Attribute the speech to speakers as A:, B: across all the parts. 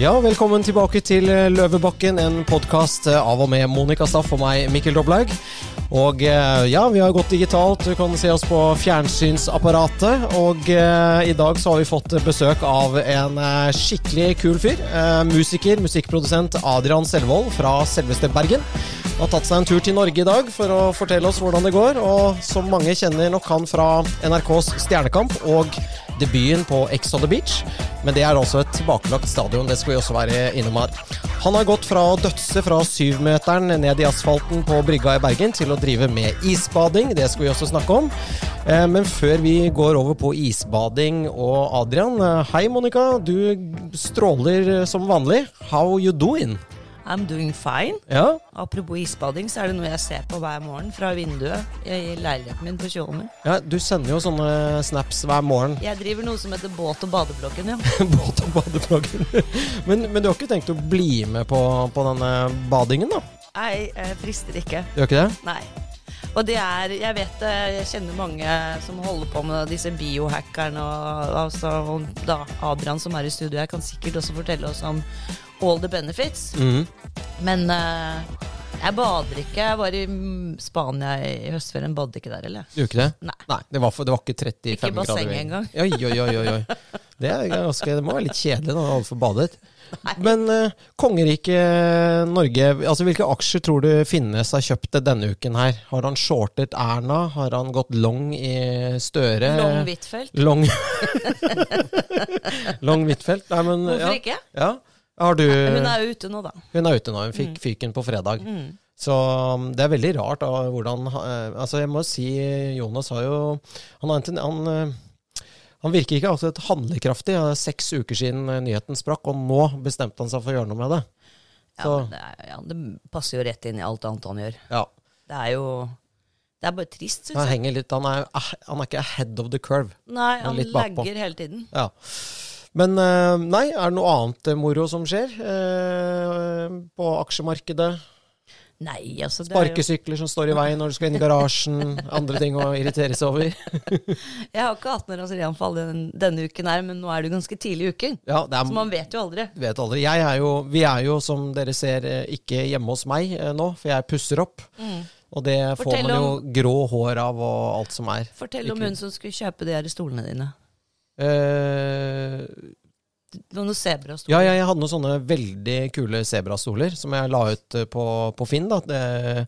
A: Ja, velkommen tilbake til eh, Løvebakken, en podkast av og med Monica Staff og meg, Mikkel Doblaug. Og eh, ja, vi har gått digitalt, du kan se oss på fjernsynsapparatet. Og eh, i dag så har vi fått besøk av en eh, skikkelig kul fyr. Eh, musiker, musikkprodusent Adrian Selvold fra selveste Bergen. Han har tatt seg en tur til Norge i dag for å fortelle oss hvordan det går. Og som mange kjenner nok han fra NRKs Stjernekamp og debuten på Ex on the Beach. Men det er altså et tilbakelagt stadion, det skal vi også være innom her. Han har gått fra å dødse fra syvmeteren ned i asfalten på brygga i Bergen til å drive med isbading, det skal vi også snakke om. Eh, Men før vi går over på isbading og Adrian, eh, hei Monica, du stråler eh, som vanlig. How you doing?
B: I'm doing fine.
A: Ja,
B: Apropos isbading, så er det noe jeg ser på hver morgen fra vinduet i leiligheten min på Tjolmen.
A: ja du sender jo sånne snaps hver morgen.
B: Jeg driver noe som heter båt- og badebloggen, ja.
A: Båt og badeplaggen. Men, men du har ikke tenkt å bli med på, på denne badingen, da?
B: Nei, jeg frister ikke.
A: Du gjør ikke det?
B: Nei. Og det er Jeg vet det, jeg kjenner mange som holder på med disse biohackerne og altså og da Adrian som er i studio, jeg kan sikkert også fortelle oss om all the benefits.
A: Mhm.
B: Men eh, jeg bader ikke. Jeg var i mm, Spania i høstferien, badet ikke der, eller?
A: Du gjør ikke det?
B: Nei.
A: det, var for, det var ikke 35
B: Ikke
A: grader.
B: basseng engang.
A: Oi, oi, oi, oi, oi. Det, er ganske, det må være litt kjedelig da, overfor badet.
B: Nei.
A: Men eh, kongeriket Norge, altså hvilke aksjer tror du Finnes har kjøpt det denne uken her? Har han shortet Erna? Har han gått long i Støre?
B: Long Huitfeldt.
A: Long, long Huitfeldt? Nei, men
B: Hvorfor
A: ja.
B: ikke?
A: ja. Har du
B: Hun er Mm. jo ute nå, da.
A: Hun er ute nå. Hun fikk fyken på fredag. Så um, det er veldig rart da, hvordan eh, Altså, jeg må si Jonas har jo Han, har en ten- han, eh, han virker ikke alltid handlekraftig. Det er seks uker siden eh, nyheten sprakk, og nå bestemte han seg for å gjøre noe med det.
B: Ja,
A: Så-
B: men det, er, ja, det passer jo rett inn i alt annet han gjør.
A: Ja.
B: Det er jo Det er bare trist, syns
A: Han
B: jeg.
A: henger litt Han er, ah, han er ikke ahead of the curve.
B: Nei, han
A: litt bakpå.
B: lagger hele tiden.
A: Ja. Men eh, nei, er det noe annet eh, moro som skjer eh, på aksjemarkedet?
B: Nei, altså det er jo,
A: Sparkesykler som står i veien når du skal inn i garasjen? Andre ting å irritere seg over?
B: Jeg har ikke 18-årsreanfall den, denne uken her, men nå er det jo ganske tidlig i uken.
A: Ja, det er
B: Så man vet jo aldri.
A: vet aldri. Jeg er jo, vi er jo, som dere ser, eh, ikke hjemme hos meg eh, nå, for jeg pusser opp. Og det får
B: Fortell
A: man jo grå hår av og alt som er.
B: Fortell om
A: Ikke-
B: hun som skulle kjøpe de her stolene dine.
A: Eh,
B: Noen
A: ja,
B: sebrastoler.
A: ja, jeg hadde noen sånne veldig kule sebrastoler som jeg la ut eh, på, på Finn. Da. Det,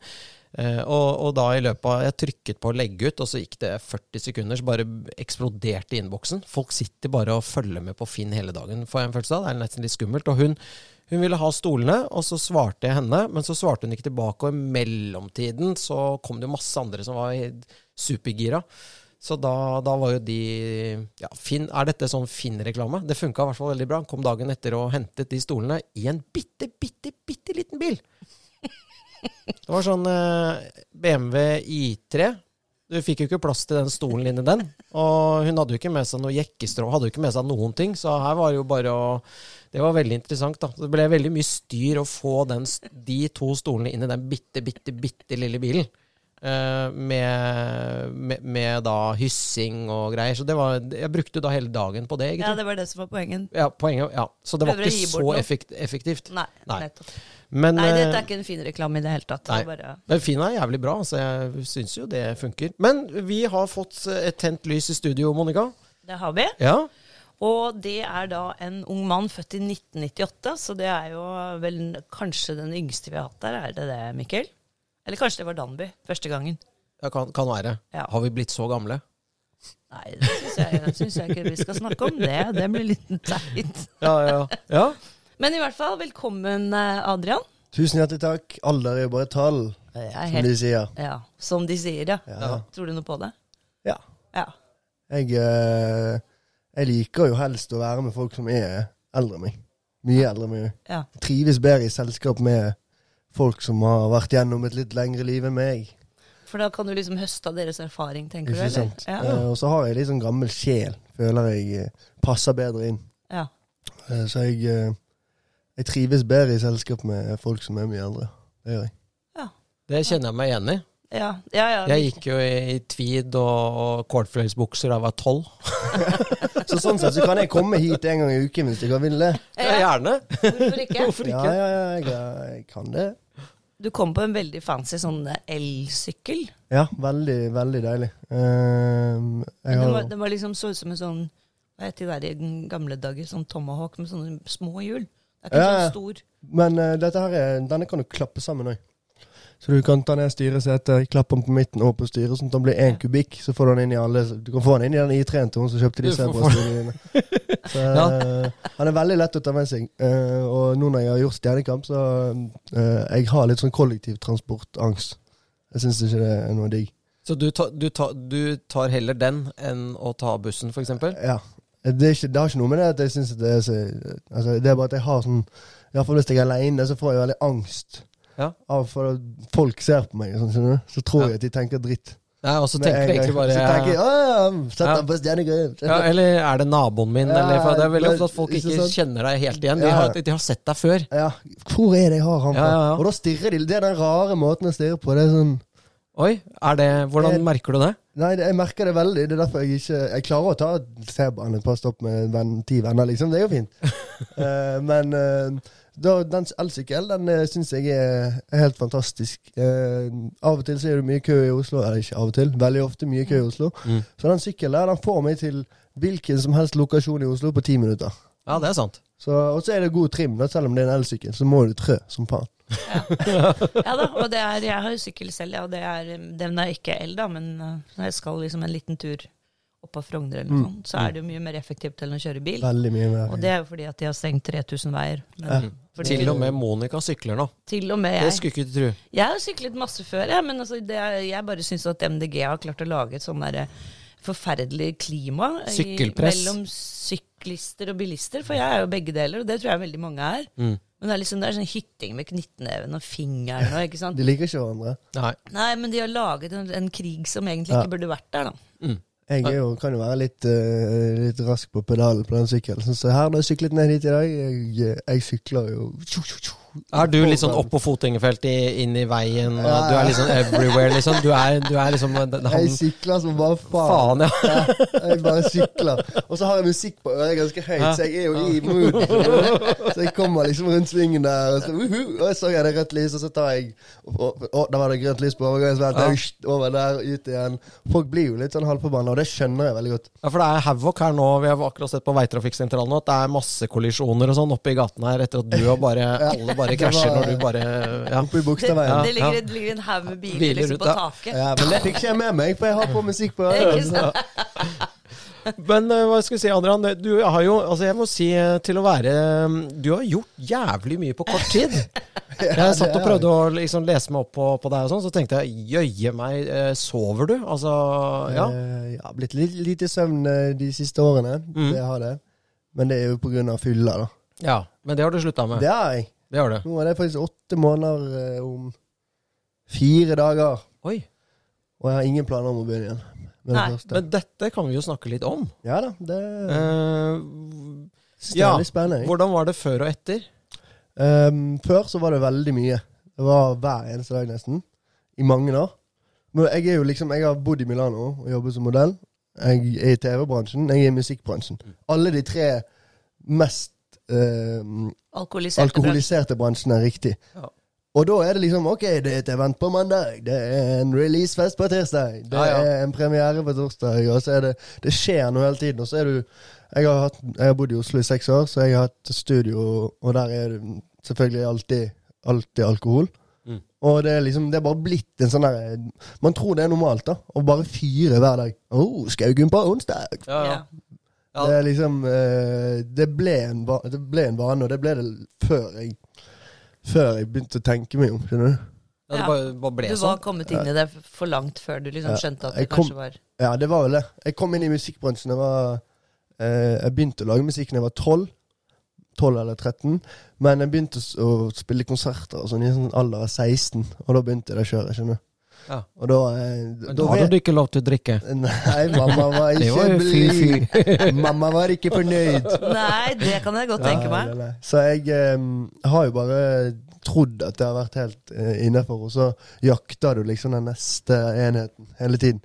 A: eh, og, og da i løpet av Jeg trykket på å legge ut, og så gikk det 40 sekunder, så bare eksploderte innboksen. Folk sitter bare og følger med på Finn hele dagen, får jeg en følelse av. Det er nesten litt skummelt. Og hun, hun ville ha stolene, og så svarte jeg henne, men så svarte hun ikke tilbake. Og i mellomtiden så kom det jo masse andre som var helt supergira. Så da, da var jo de ja, Finn, Er dette sånn Finn-reklame? Det funka i hvert fall veldig bra. Han kom dagen etter og hentet de stolene i en bitte, bitte, bitte liten bil. Det var sånn eh, BMW I3. Du fikk jo ikke plass til den stolen inni den. Og hun hadde jo ikke med seg noe jekkestrå, hadde jo ikke med seg noen ting. Så her var det jo bare å Det var veldig interessant, da. Det ble veldig mye styr å få den, s- de to stolene inn i den bitte, bitte, bitte lille bilen. Eh, med, med, med da hyssing og greier. Så det var Jeg brukte da hele dagen på det,
B: Ja,
A: egentlig.
B: det var det som var poenget.
A: Ja, poenget, ja. Så det var
B: Prøver å
A: ikke
B: gi bort
A: så
B: noe.
A: effekt, effektivt.
B: Nei,
A: Nei.
B: nettopp.
A: Men,
B: Nei, dette
A: eh,
B: er ikke en fin reklame i det hele tatt. Det
A: nei.
B: er bare,
A: men Fina er jævlig bra, så jeg syns jo det funker. Men vi har fått eh, et tent lys i studio, Monica.
B: det har vi.
A: Ja.
B: Og det er da en ung mann født i 1998, så det er jo vel kanskje den yngste vi har hatt der. Er det det, Mikkel? Eller kanskje det var Danby første gangen?
A: Ja, kan, kan være.
B: Ja.
A: Har vi blitt så gamle?
B: Nei, det syns jeg, det synes jeg ikke vi skal snakke om. Det Det blir litt teit.
A: Ja, ja, ja.
B: Men i hvert fall, velkommen, eh, Adrian.
C: Tusen hjertelig takk. Alder er jo bare tall,
B: Jeg er
C: som de
B: helt,
C: sier.
B: ja, som de sier, ja.
C: Ja.
B: Tror du noe på det?
C: Ja.
B: Ja.
C: Jeg, eh, jeg liker jo helst å være med folk som er eldre enn meg. Mye eldre enn meg.
B: ja.
C: Jeg trives bedre i selskap med folk som har vært gjennom et litt lengre liv enn meg.
B: For da kan du liksom høste av deres erfaring, tenker du?
C: Ikke
B: eller?
C: sant?
B: Ja.
C: Eh, Og så har jeg litt sånn gammel sjel. Føler jeg eh, passer bedre inn.
B: ja.
C: Eh, Så jeg, eh, jeg trives bedre i selskap med folk som er mye eldre. Det gjør jeg.
A: Det kjenner jeg meg igjen i.
B: Ja, ja, ja,
A: Jeg gikk jo i, i tweed og, og kålfløyelsbukser da jeg var tolv.
C: Så sånn sett så kan jeg komme hit en gang i uken hvis dere vil det.
A: Ja,
B: ja.
A: gjerne.
B: Hvorfor ikke?
A: Hvorfor
C: Ja,
A: ikke?
C: ja, ja, jeg, eh, jeg kan det.
B: Du kom på en veldig fancy sånn elsykkel.
C: Ja, veldig, veldig deilig. Ehm, jeg
B: Den
C: har,
B: var, den var liksom så ut som en sånn Hva heter det der i den gamle dager? Sånn tomahawk med sånne små hjul. Det er ikke
C: Ja, ja.
B: sånn stor.
C: men eh, dette her er, denne kan du klappe sammen òg. Så du kan ta ned styresetet, klappe den på midten og på styret, sånn at den blir én kubikk. Så får du den inn i alle Du kan få den inn i den i3-en til hun som kjøpte de
A: Du får-
C: sebrastolene dine. Så eh, han er veldig lett å ta med seg. Eh, og nå når jeg har gjort Stjernekamp, så eh, Jeg har litt sånn kollektivtransportangst. Jeg syns ikke det er noe digg.
A: Så du, ta, du, ta, du tar heller den enn å ta bussen, f.eks.?
C: Ja. Det, er ikke, det har ikke noe med det at jeg synes at det er så altså, Det er bare at jeg har sånn Iallfall hvis jeg er aleine, så får jeg veldig angst.
A: Ja.
C: Av for at folk ser på meg, og sånn, skjønner du. Så tror
A: Ja.
C: jeg at de tenker dritt.
A: Nei, og så
C: Med en
A: tenker du
C: gang.
A: egentlig bare
C: Så tenker jeg, «Å, ja, Sett
A: Ja.
C: deg på stjernegrøt.
A: ja, Eller er det naboen min?
C: Ja,
A: eller, for det er veldig
C: men-
A: ofte at folk
C: ikke
A: ikke
C: sant?
A: kjenner deg helt igjen. De
C: Ja.
A: har, de har sett deg før.
C: Ja, hvor er det jeg har han fra?
A: Ja, ja, ja.
C: Og da stirrer de. Det er den rare måten å stirre på. Det er sånn
A: Oi, er det, hvordan
C: Det-
A: merker du det?
C: Nei, det, jeg merker det veldig. Det er derfor jeg ikke Jeg klarer å ta T-banen et par stopp med venn, ti venner, liksom. Det er jo fint. Eh, men eh, da, den elsykkel, den uh, syns jeg er, er helt fantastisk. Eh, av og til så er det mye kø i Oslo. Eller ikke av og til, veldig ofte mye kø i Oslo.
A: Mm.
C: Så den sykkelen der, den får meg til hvilken som helst lokasjon i Oslo på ti minutter.
A: Ja, det er sant.
C: Så, og så er det god trim, da, selv om det er en elsykkel. Så må du trø som faen.
B: Ja da, og det er, jeg har jo sykkel selv, ja, og det er, den er ikke el, da, men eh, når jeg skal liksom en liten tur opp av Frogner eller noe sånt, så er det jo mye mer effektivt enn å kjøre bil.
C: Mm. Veldig mye mer.
B: Og det er jo fordi at de har stengt 3000 veier.
C: Ja.
B: Men, fordi,
A: Til og med Monica sykler nå.
B: til og med
A: Det
B: jeg.
A: skulle ikke du tro.
B: Jeg har jo syklet masse før, jeg, men altså, det er, jeg bare syns at MDG har klart å lage et sånn derre forferdelig klima i-
A: Sykkelpress.
B: mellom syklister og bilister, for jeg er jo begge deler, og det tror jeg veldig mange er.
A: Mm.
B: Men det er liksom det er sånn hytting med knyttneven og fingeren og ikke sant.
C: De liker ikke hverandre.
A: Nei.
B: Nei, men de har laget en, en krig som egentlig
C: Ja.
B: ikke burde vært der, da.
C: Jeg er jo, kan jo være litt, eh, litt rask på pedalen på den sykkelen. Sånn Så her, når jeg syklet ned hit i dag Jeg, eh, jeg sykler jo tjo, tjo, tjo.
A: Er du litt sånn oppå fotgjengerfeltet, i- inn i veien, og du er litt sånn everywhere, liksom? Du er, du er liksom den-
C: Jeg
A: han
C: sykler som bare
A: Faen,
C: faen.
A: ja.
C: Jeg bare sykler. Og så har jeg musikk på øret ganske høyt, så jeg er jo i mood. Så jeg kommer liksom rundt svingen der, og så, uhu, og så er det rødt lys, og så tar jeg og- og- Å, da var det grønt lys på overgangsfeltet.
A: Ja.
C: Hysj, Over der, ut igjen. Folk blir jo litt sånn halvforbanna, og det skjønner jeg veldig godt.
A: Ja, for det er havoc her nå. Vi har akkurat sett på veitrafikksentralen nå at det er masse kollisjoner og sånn oppe i gatene her etter at du og bare Alle bare krasjer når du bare Ja.
C: Oppe i
B: Det,
C: Bogstadveien.
B: det, ligger, det ligger en haug med biler
A: Biler
B: liksom,
A: ut,
B: på
A: ja.
B: taket.
C: Ja, men det fikk ikke jeg med meg, for jeg har på musikk på
B: Ikke
C: øret.
B: sant?
A: Men eh, hva skal jeg si, Adrian. Du har jo Altså, jeg må si eh, til å være eh, Du har gjort jævlig mye på kort tid. Jeg satt og prøvde å liksom lese meg opp på, på deg, og sånn, så tenkte jeg jøye meg, eh, sover du? Altså, ja.
C: Eh, ja, blitt litt lite søvn eh, de siste årene.
A: Mm.
C: Det har det. Men det er jo pga. fylla, da.
A: ja. Men det har du slutta med.
C: Det har jeg.
A: Det har du.
C: Nå er det faktisk åtte måneder eh, om fire dager.
A: Oi.
C: Og jeg har ingen planer om å begynne igjen. Med det
B: Nei,
C: første.
A: Men dette kan vi jo snakke litt om.
C: Ja da, det
A: Eh,
C: synes jeg
A: ja.
C: er litt spennende. jeg.
A: hvordan var det før og etter?
C: Ehm, før så var det veldig mye. Det var hver eneste dag, nesten. I mange år. Men jeg er jo liksom Jeg har bodd i Milano og jobbet som modell. Jeg er i TV-bransjen, jeg er i musikkbransjen.
A: Mm.
C: Alle de tre mest eh,
B: Alkoholiserte
C: alkoholiserte bransjen er riktig.
A: Ja.
C: Og da er det liksom OK, det er et event på mandag, det er en releasefest på tirsdag, det
A: Ja, ja.
C: er en premiere på torsdag, og så er det Det skjer noe hele tiden. Og så er du Jeg har, hatt, jeg har bodd i Oslo i seks år, så jeg har hatt studio, og der er det selvfølgelig alltid, alltid alkohol.
A: Mm.
C: Og det er liksom Det er bare blitt en sånn der Man tror det er normalt, da. Å bare fyre hver dag. Å, oh, Skaugen på onsdag!
A: Ja,
B: Ja.
A: Ja.
C: Det er liksom eh, det, ble en va- det ble en vane, og det ble det før jeg Før jeg begynte å tenke meg om. skjønner du?
A: Ja, det
B: Ja.
A: bare, bare ble
B: Du var
A: sånn.
B: kommet inn i det for langt før du liksom
C: Ja.
B: skjønte at det
C: Jeg kom-
B: kanskje var
C: Ja, det var vel det. Jeg kom inn i musikkbransjen da jeg var eh, Jeg begynte å lage musikk da jeg var 12. 12 eller 13. Men jeg begynte å s- å spille konserter og sånn i en sånn alder av 16, og da begynte det kjøret. skjønner du?
A: Ja.
C: Og da, eh,
A: Men
C: da
A: da hadde
C: vet-
A: du ikke lov til å drikke.
C: Nei, mamma var
A: Det
C: ikke
A: var jo
C: blid. Mamma var ikke fornøyd.
B: Nei, det kan jeg godt tenke meg.
C: Nei, nei, nei. Så jeg eh, har jo bare trodd at det har vært helt uh, innafor, og så jakter du liksom den neste enheten hele tiden.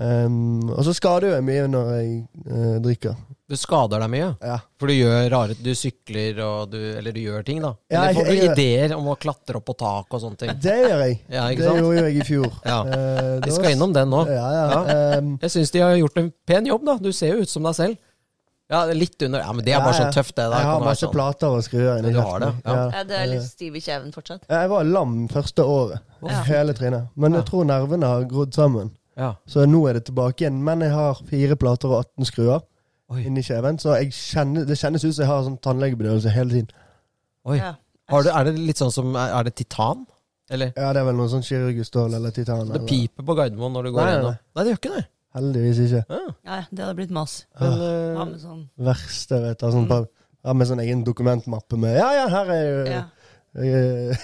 C: Ehm, og så skader jeg mye når jeg eh, drikker.
A: Du skader deg mye.
C: Ja.
A: For du gjør rare Du sykler og du Eller du gjør ting, da.
C: Ja,
A: Eller
C: jeg-
A: får du
C: jeg gjør-
A: ideer om å klatre opp på tak og sånne ting.
C: Det gjør jeg.
A: Ja, ikke
C: det
A: sant?
C: gjorde jo jeg i fjor.
A: Ja.
C: Eh, det
A: Vi
C: var-
A: skal innom den nå.
C: Ja, ja. Ehm,
A: Jeg syns de har gjort en pen jobb, da. Du ser jo ut som deg selv. Ja, litt under Ja, men det er bare
C: ja, ja.
A: sånn tøft, det der.
C: Jeg har
A: Kan være
C: masse
A: sånn.
C: plater å skru inn i
A: Ja, du har det,
C: kjeften.
A: ja. eh.
B: Ja, det er litt stiv i kjeven fortsatt.
C: Jeg var lam første året.
B: Ja.
C: Hele trynet. Men
A: Ja.
C: jeg tror nervene har grodd sammen.
A: Ja.
C: Så nå er det tilbake igjen. Men jeg har fire plater og 18 skruer
A: Oi.
C: inni kjeven. Så jeg kjenner, det kjennes ut som jeg har sånn tannlegebedøvelse hele tiden.
A: Oi.
B: Ja.
A: Har du, er det litt sånn som Er er det titan? Eller?
C: Ja, det er vel noe sånn kirurgustål eller titan.
A: Det
C: Eller.
A: piper på Gardermoen når du går
C: Nei, nei,
A: gjennom. Nei, det gjør ikke det.
C: Heldigvis ikke.
A: Ja.
B: Nei, det hadde blitt mas.
C: Ah.
A: Men,
B: Ja,
A: eh,
B: men sånn.
C: Verste, vet du.
A: Mm.
C: Sånn, par- ja, med sånn egen dokumentmappe med Ja, ja, her er jo
B: Ja.
C: eh,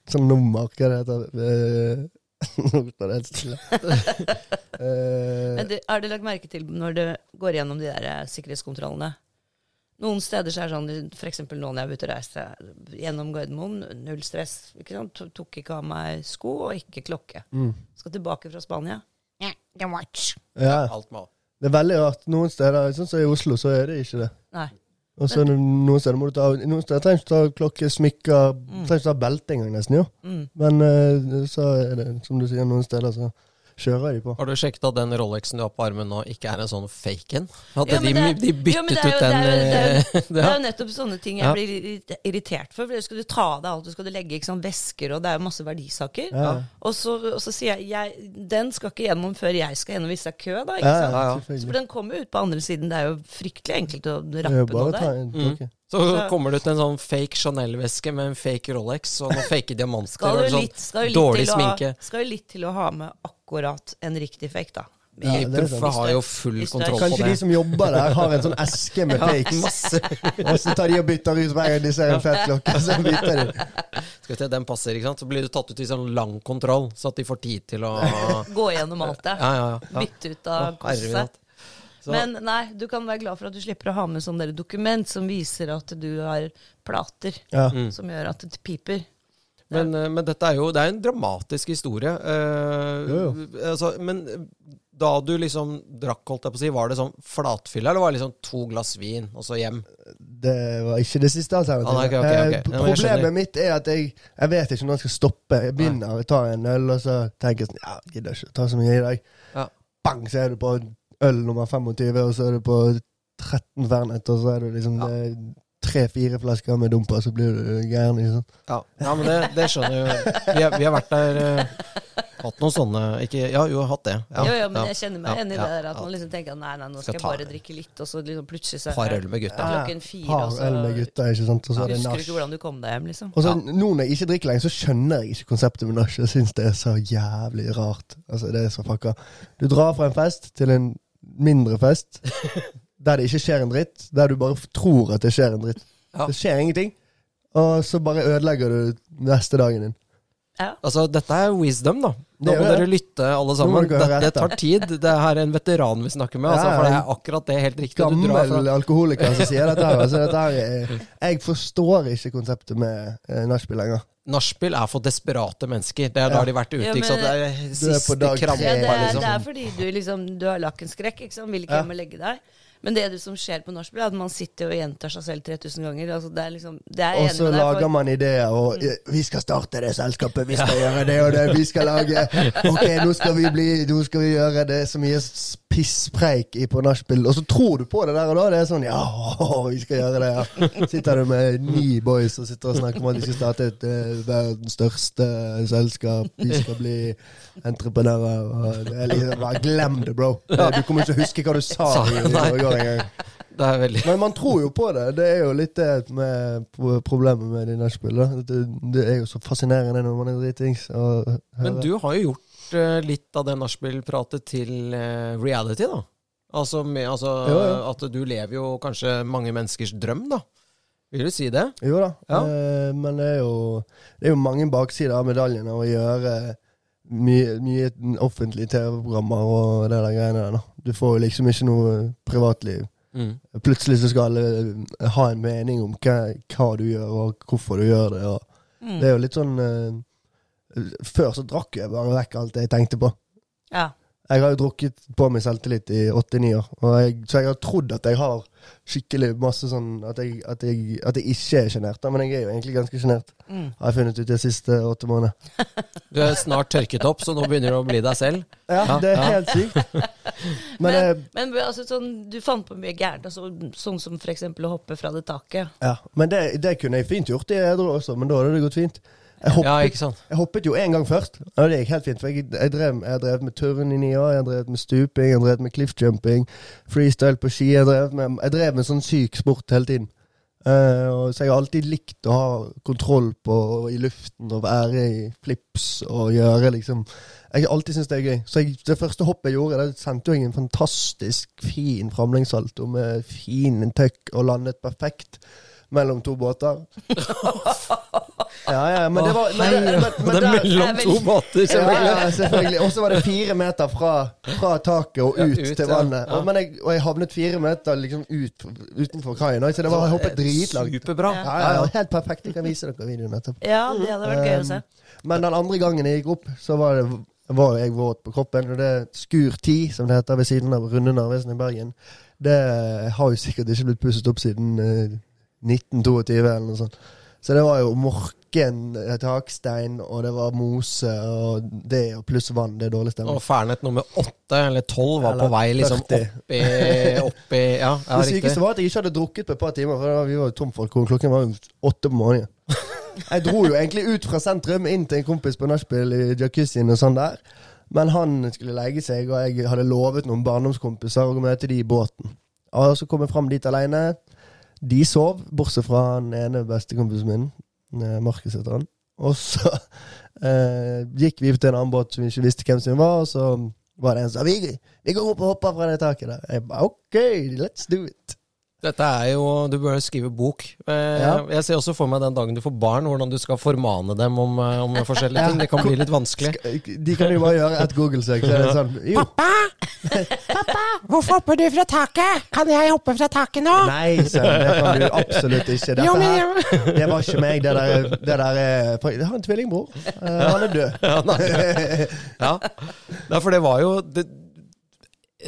C: Sånn nummer, hva det heter Eh, Nå står det helt stille. Eh,
B: Men du, har du lagt merke til når du går gjennom de der eh, sikkerhetskontrollene? Noen steder så er det sånn, f.eks. nå når jeg var ute og reiste gjennom Gardermoen, null stress. Ikke sant? To- Tok ikke av meg sko og ikke klokke.
C: Mm.
B: Skal tilbake fra Spania. Yeah, the watch.
C: ja.
A: alt med alt.
C: Det er veldig rart. Noen steder, sånn som i Oslo, så er det ikke det.
B: Nei.
C: Og så er det noen steder må du ta Noen steder trenger du ikke ta klokke, smykker Trenger ikke ta belte engang, nesten, jo.
B: Mm.
C: Men eh, så er det, som du sier, noen steder så kjører de på.
A: Har du sjekket at den Rolexen du har på armen nå, ikke er en sånn fake en? At
B: Ja,
A: de,
B: men det er-
A: de
B: Ja, men
A: byttet
B: det er jo-
A: ut den
B: det er jo-
A: eh,
B: Det er
A: ja.
B: jo nettopp sånne ting jeg
A: Ja.
B: blir irri- irritert for. For skal du ta av deg alt, du skal du legge ikke sant, vesker, og det er jo masse verdisaker.
C: Ja.
B: Og, så, og så sier jeg, jeg den skal ikke gjennom før jeg skal gjennom hvis det er kø, da.
C: Ja,
B: ikke sant?
A: Ja, ja.
B: Så
C: selvfølgelig.
B: for den kommer jo ut på andre siden. Det er jo fryktelig enkelt å
C: Det er
B: rappe
C: jo
B: noe
C: bare å ta
B: der.
C: en
A: Mm.
C: klokke.
A: Så kommer du til en sånn fake Chanel-veske med en fake Rolex og noen fake diamanter.
B: Skal
A: og
B: jo
A: en sånn
B: litt, skal jo
A: dårlig
B: litt, til å,
A: sminke.
B: ha- skal jo litt til å ha med akkurat en riktig fake, da.
C: Ja, det er
A: Proffe
C: sant.
A: har jo full
B: Hvis du er-
A: kontroll på
C: Kanskje
A: det.
C: de som jobber der, har en sånn eske med fakes.
A: Masse.
C: Og så tar de og bytter ut hver gang de ser en fet klokke. Så bytter de.
A: Skal vi se, den passer, ikke sant? Så blir du tatt ut i sånn lang kontroll, så at de får tid til å
B: Gå gjennom alt det.
A: Ja, ja, ja.
B: Bytte ut av
A: Å, herre min
B: kosset.
A: hatt. Så-
B: Men nei, du kan være glad for at du slipper å ha med sånn der dokument som viser at du har plater
C: Ja.
B: som gjør at det piper.
A: Men, eh, men dette er jo Det er en dramatisk historie. eh,
C: Jo,
A: Altså, men eh, da du liksom drakk, holdt jeg på å si, var det sånn flatfylle, eller var det liksom to glass vin, og så hjem?
C: Det var ikke det siste alternativet.
A: Ah, nei, ok, ok, ok. Ja,
C: Eh,
A: men jeg skjønner.
C: Problemet mitt er at jeg, jeg vet ikke når jeg skal stoppe. Jeg begynner, jeg tar en øl, og så tenker jeg sånn Ja, jeg gidder ikke ta så mye i dag.
A: Ja.
C: Bang, så er du på øl nummer 25, og så er du på 13 Fernet, og så er du liksom
A: Ja.
C: tre-fire flasker med dumper, så blir du gæren. Liksom.
A: Ja, ja men det, det skjønner jeg jo. Vi, har- vi har vært der eh, Hatt noen sånne ikke, Ja, jo, hatt det. Ja,
B: jo, jo, men
A: ja,
B: jeg kjenner meg
A: ja,
B: enig i
A: ja,
B: det der at
A: ja.
B: man liksom tenker at nei, nei, nå
A: Skal
B: skal jeg
A: ta
B: bare
A: det.
B: drikke litt, og så liksom plutselig så
A: Par øl med gutta.
C: Ja.
B: klokken fire, altså. og
C: Par
B: så
C: øl med gutta, ikke sant, og så er det
B: husker du
C: nach.
B: ikke hvordan du kom deg hjem, liksom.
C: Og så
A: Ja.
C: Nå når jeg ikke drikker lenger, så skjønner jeg ikke konseptet med nach. Jeg syns det er så jævlig rart. Altså, det er så fucka. Du drar fra en fest til en mindre fest der det ikke skjer en dritt. Der du bare tror at det skjer en dritt.
A: Ja.
C: Det skjer ingenting. Og så bare ødelegger du neste dagen din.
A: Altså, dette er wisdom, da. Nå
C: Det er
A: må
C: det.
A: dere lytte, alle
C: må
A: sammen.
C: dere høre
A: Det, det
C: etter.
A: tar tid. Det her er en veteran vi snakker med,
C: Ja,
A: altså, for det
C: ja.
A: er akkurat det helt riktig. Du drar
C: Gammel
A: fra
C: alkoholiker som sier dette her. Altså, dette her er, jeg forstår ikke konseptet med eh, nachspiel lenger.
A: Nachspiel er for desperate mennesker. Det er da
C: Ja.
A: de har vært ute.
B: Ja,
A: ikke sant?
B: men-
A: Det er
C: Du er på
A: siste
C: dag tre.
A: krampa,
B: Ja, det, er,
A: liksom.
B: det er fordi du liksom Du har lakkenskrekk, ikke sant. Vil ikke
C: Ja.
B: hjem og legge deg. Men det du som skjer på nachspiel, er at man sitter og gjentar seg selv 3000 ganger. Altså, det er liksom Det er jeg
C: Og
B: enig
C: så
B: med deg
C: lager
B: for. Mm.
C: man ideer, og eh, vi skal starte det selskapet, vi skal gjøre det og det, vi skal lage Ok, nå skal vi, bli, nå skal vi gjøre det så mye s- pisspreik i på nachspiel, og så tror du på det der og da. Det er sånn ja, vi skal gjøre det, ja. Sitter du med ni boys og sitter og snakker om at de skal starte et eh, verdens største selskap, vi skal bli entreprenører og det er liksom, bare Glem det, bro. Du kommer ikke til å huske hva du sa i i går engang.
A: Det er veldig
C: Men man tror jo på det. Det er jo litt det med pro- problemet med de nachspielene. Det, det er jo så fascinerende når man er dritings. Og
A: Men du har jo gjort eh, litt av det nachspiel-pratet til eh, reality, da. Altså, med, altså
C: Jo, jo.
A: at du lever jo kanskje mange menneskers drøm, da. Vil du si det?
C: Jo da.
A: Ja.
C: Eh, men det er, jo, det er jo mange baksider av medaljen av å gjøre mye, mye offentlige TV-programmer og det der greiene der. da. Du får jo liksom ikke noe privatliv.
A: Mm.
C: Plutselig så skal alle eh, ha en mening om hva, hva du gjør, og hvorfor du gjør det. Og
B: Mm.
C: det er jo litt sånn eh, Før så drakk jeg bare vekk alt det jeg tenkte på.
B: Ja.
C: Jeg har jo drukket på meg selvtillit i 89 år, og jeg, så jeg har trodd at jeg har skikkelig masse sånn At jeg, at jeg, at jeg ikke er sjenert, men jeg er jo egentlig ganske sjenert.
B: Mm.
C: Har jeg funnet ut de siste åtte månedene.
A: Du er snart tørket opp, så nå begynner du å bli deg selv.
C: Ja,
A: Ja,
C: det er
A: ja.
C: helt sykt. Men eh, det,
B: Men altså, sånn, du fant på mye gærent, altså, sånn som f.eks. å hoppe fra det taket.
C: ja, men det, det kunne jeg fint gjort i edru også, men da hadde det gått fint. Jeg
A: Ja,
C: hoppet,
A: ikke sant.
C: jeg hoppet jo en gang først, og det gikk helt fint. For jeg, jeg, drev, jeg har drevet med turn i ni år, jeg har drevet med stuping, jeg har drevet med cliffjumping, freestyle på ski. Jeg drev med, jeg drev med sånn syk sport hele tiden. Eh, og, så jeg har alltid likt å ha kontroll på og i luften og være i flips og gjøre liksom Jeg har alltid syntes det er gøy. Så jeg, det første hoppet jeg gjorde, det sendte jo jeg en fantastisk fin framlengssalto med fin tøkk og landet perfekt mellom to båter. Ja, ja, men det var men, det- men, men,
A: det er
C: der-
A: mellom to båter.
C: Selvfølgelig. Ja, selvfølgelig. Og så var det fire meter fra, fra taket og ut,
A: Ja, ut,
C: til
A: ja.
C: vannet.
A: Ja.
C: Og, men jeg, og jeg havnet fire meter liksom ut, utenfor kaien. Så det var, jeg
A: Eh,
C: hoppet dritlangt.
A: Superbra.
C: Ja, ja, ja, helt perfekt. Jeg kan vise dere videoen etterpå. Ehm,
B: Ja, det hadde vært gøy å
C: Eh,
B: se.
C: Men den andre gangen jeg gikk opp, så var, det, var jeg våt på kroppen. Og det Skur 10, som det heter ved siden av Runde Narvesen i Bergen, det eh, har jo sikkert ikke blitt pusset opp siden eh, 1922 eller noe sånt. Så det var jo morken, eh, takstein, og det var mose, og det, og pluss vann. Det er dårlig stemning.
A: Og Fernet nummer åtte eller tolv var
C: Eller
A: på vei liksom
C: 40.
A: opp i, opp i Ja, ja
C: det
A: riktig.
C: sykeste var at jeg ikke hadde drukket på et par timer, for da var vi var jo tomfolk. og Klokken var jo åtte på morgenen. Jeg dro jo egentlig ut fra sentrum, inn til en kompis på nachspiel i jacuzzien og sånn der. Men han skulle legge seg, og jeg hadde lovet noen barndomskompiser å møte de i båten. Og så kom jeg fram dit aleine. De sov, bortsett fra den ene bestekompisen min. eh, Markus heter han. Og så eh, gikk vi til en annen båt som vi ikke visste hvem sin var, og så var det en som sa vi, vi går opp og hopper fra det taket der. Jeg ba, OK, let's do it.
A: Dette er jo Du bør skrive bok. Eh,
C: Ja.
A: Jeg ser også for meg den dagen du får barn, hvordan du skal formane dem om, eh, om forskjellige ting. Det kan bli litt vanskelig.
C: De kan jo bare gjøre et Google-søk. Så er det sånn, jo,
D: Hvorfor hopper du fra taket? Kan jeg hoppe fra taket nå?
C: nei, sønn, det kan du absolutt ikke. Dette
D: Jo, men
C: her,
D: jeg...
C: det var ikke meg. Det der, det der er Jeg har en tvillingbror. Eh, Han er død. Eh,
A: Ja, nei, ja. Nei, for det var jo det,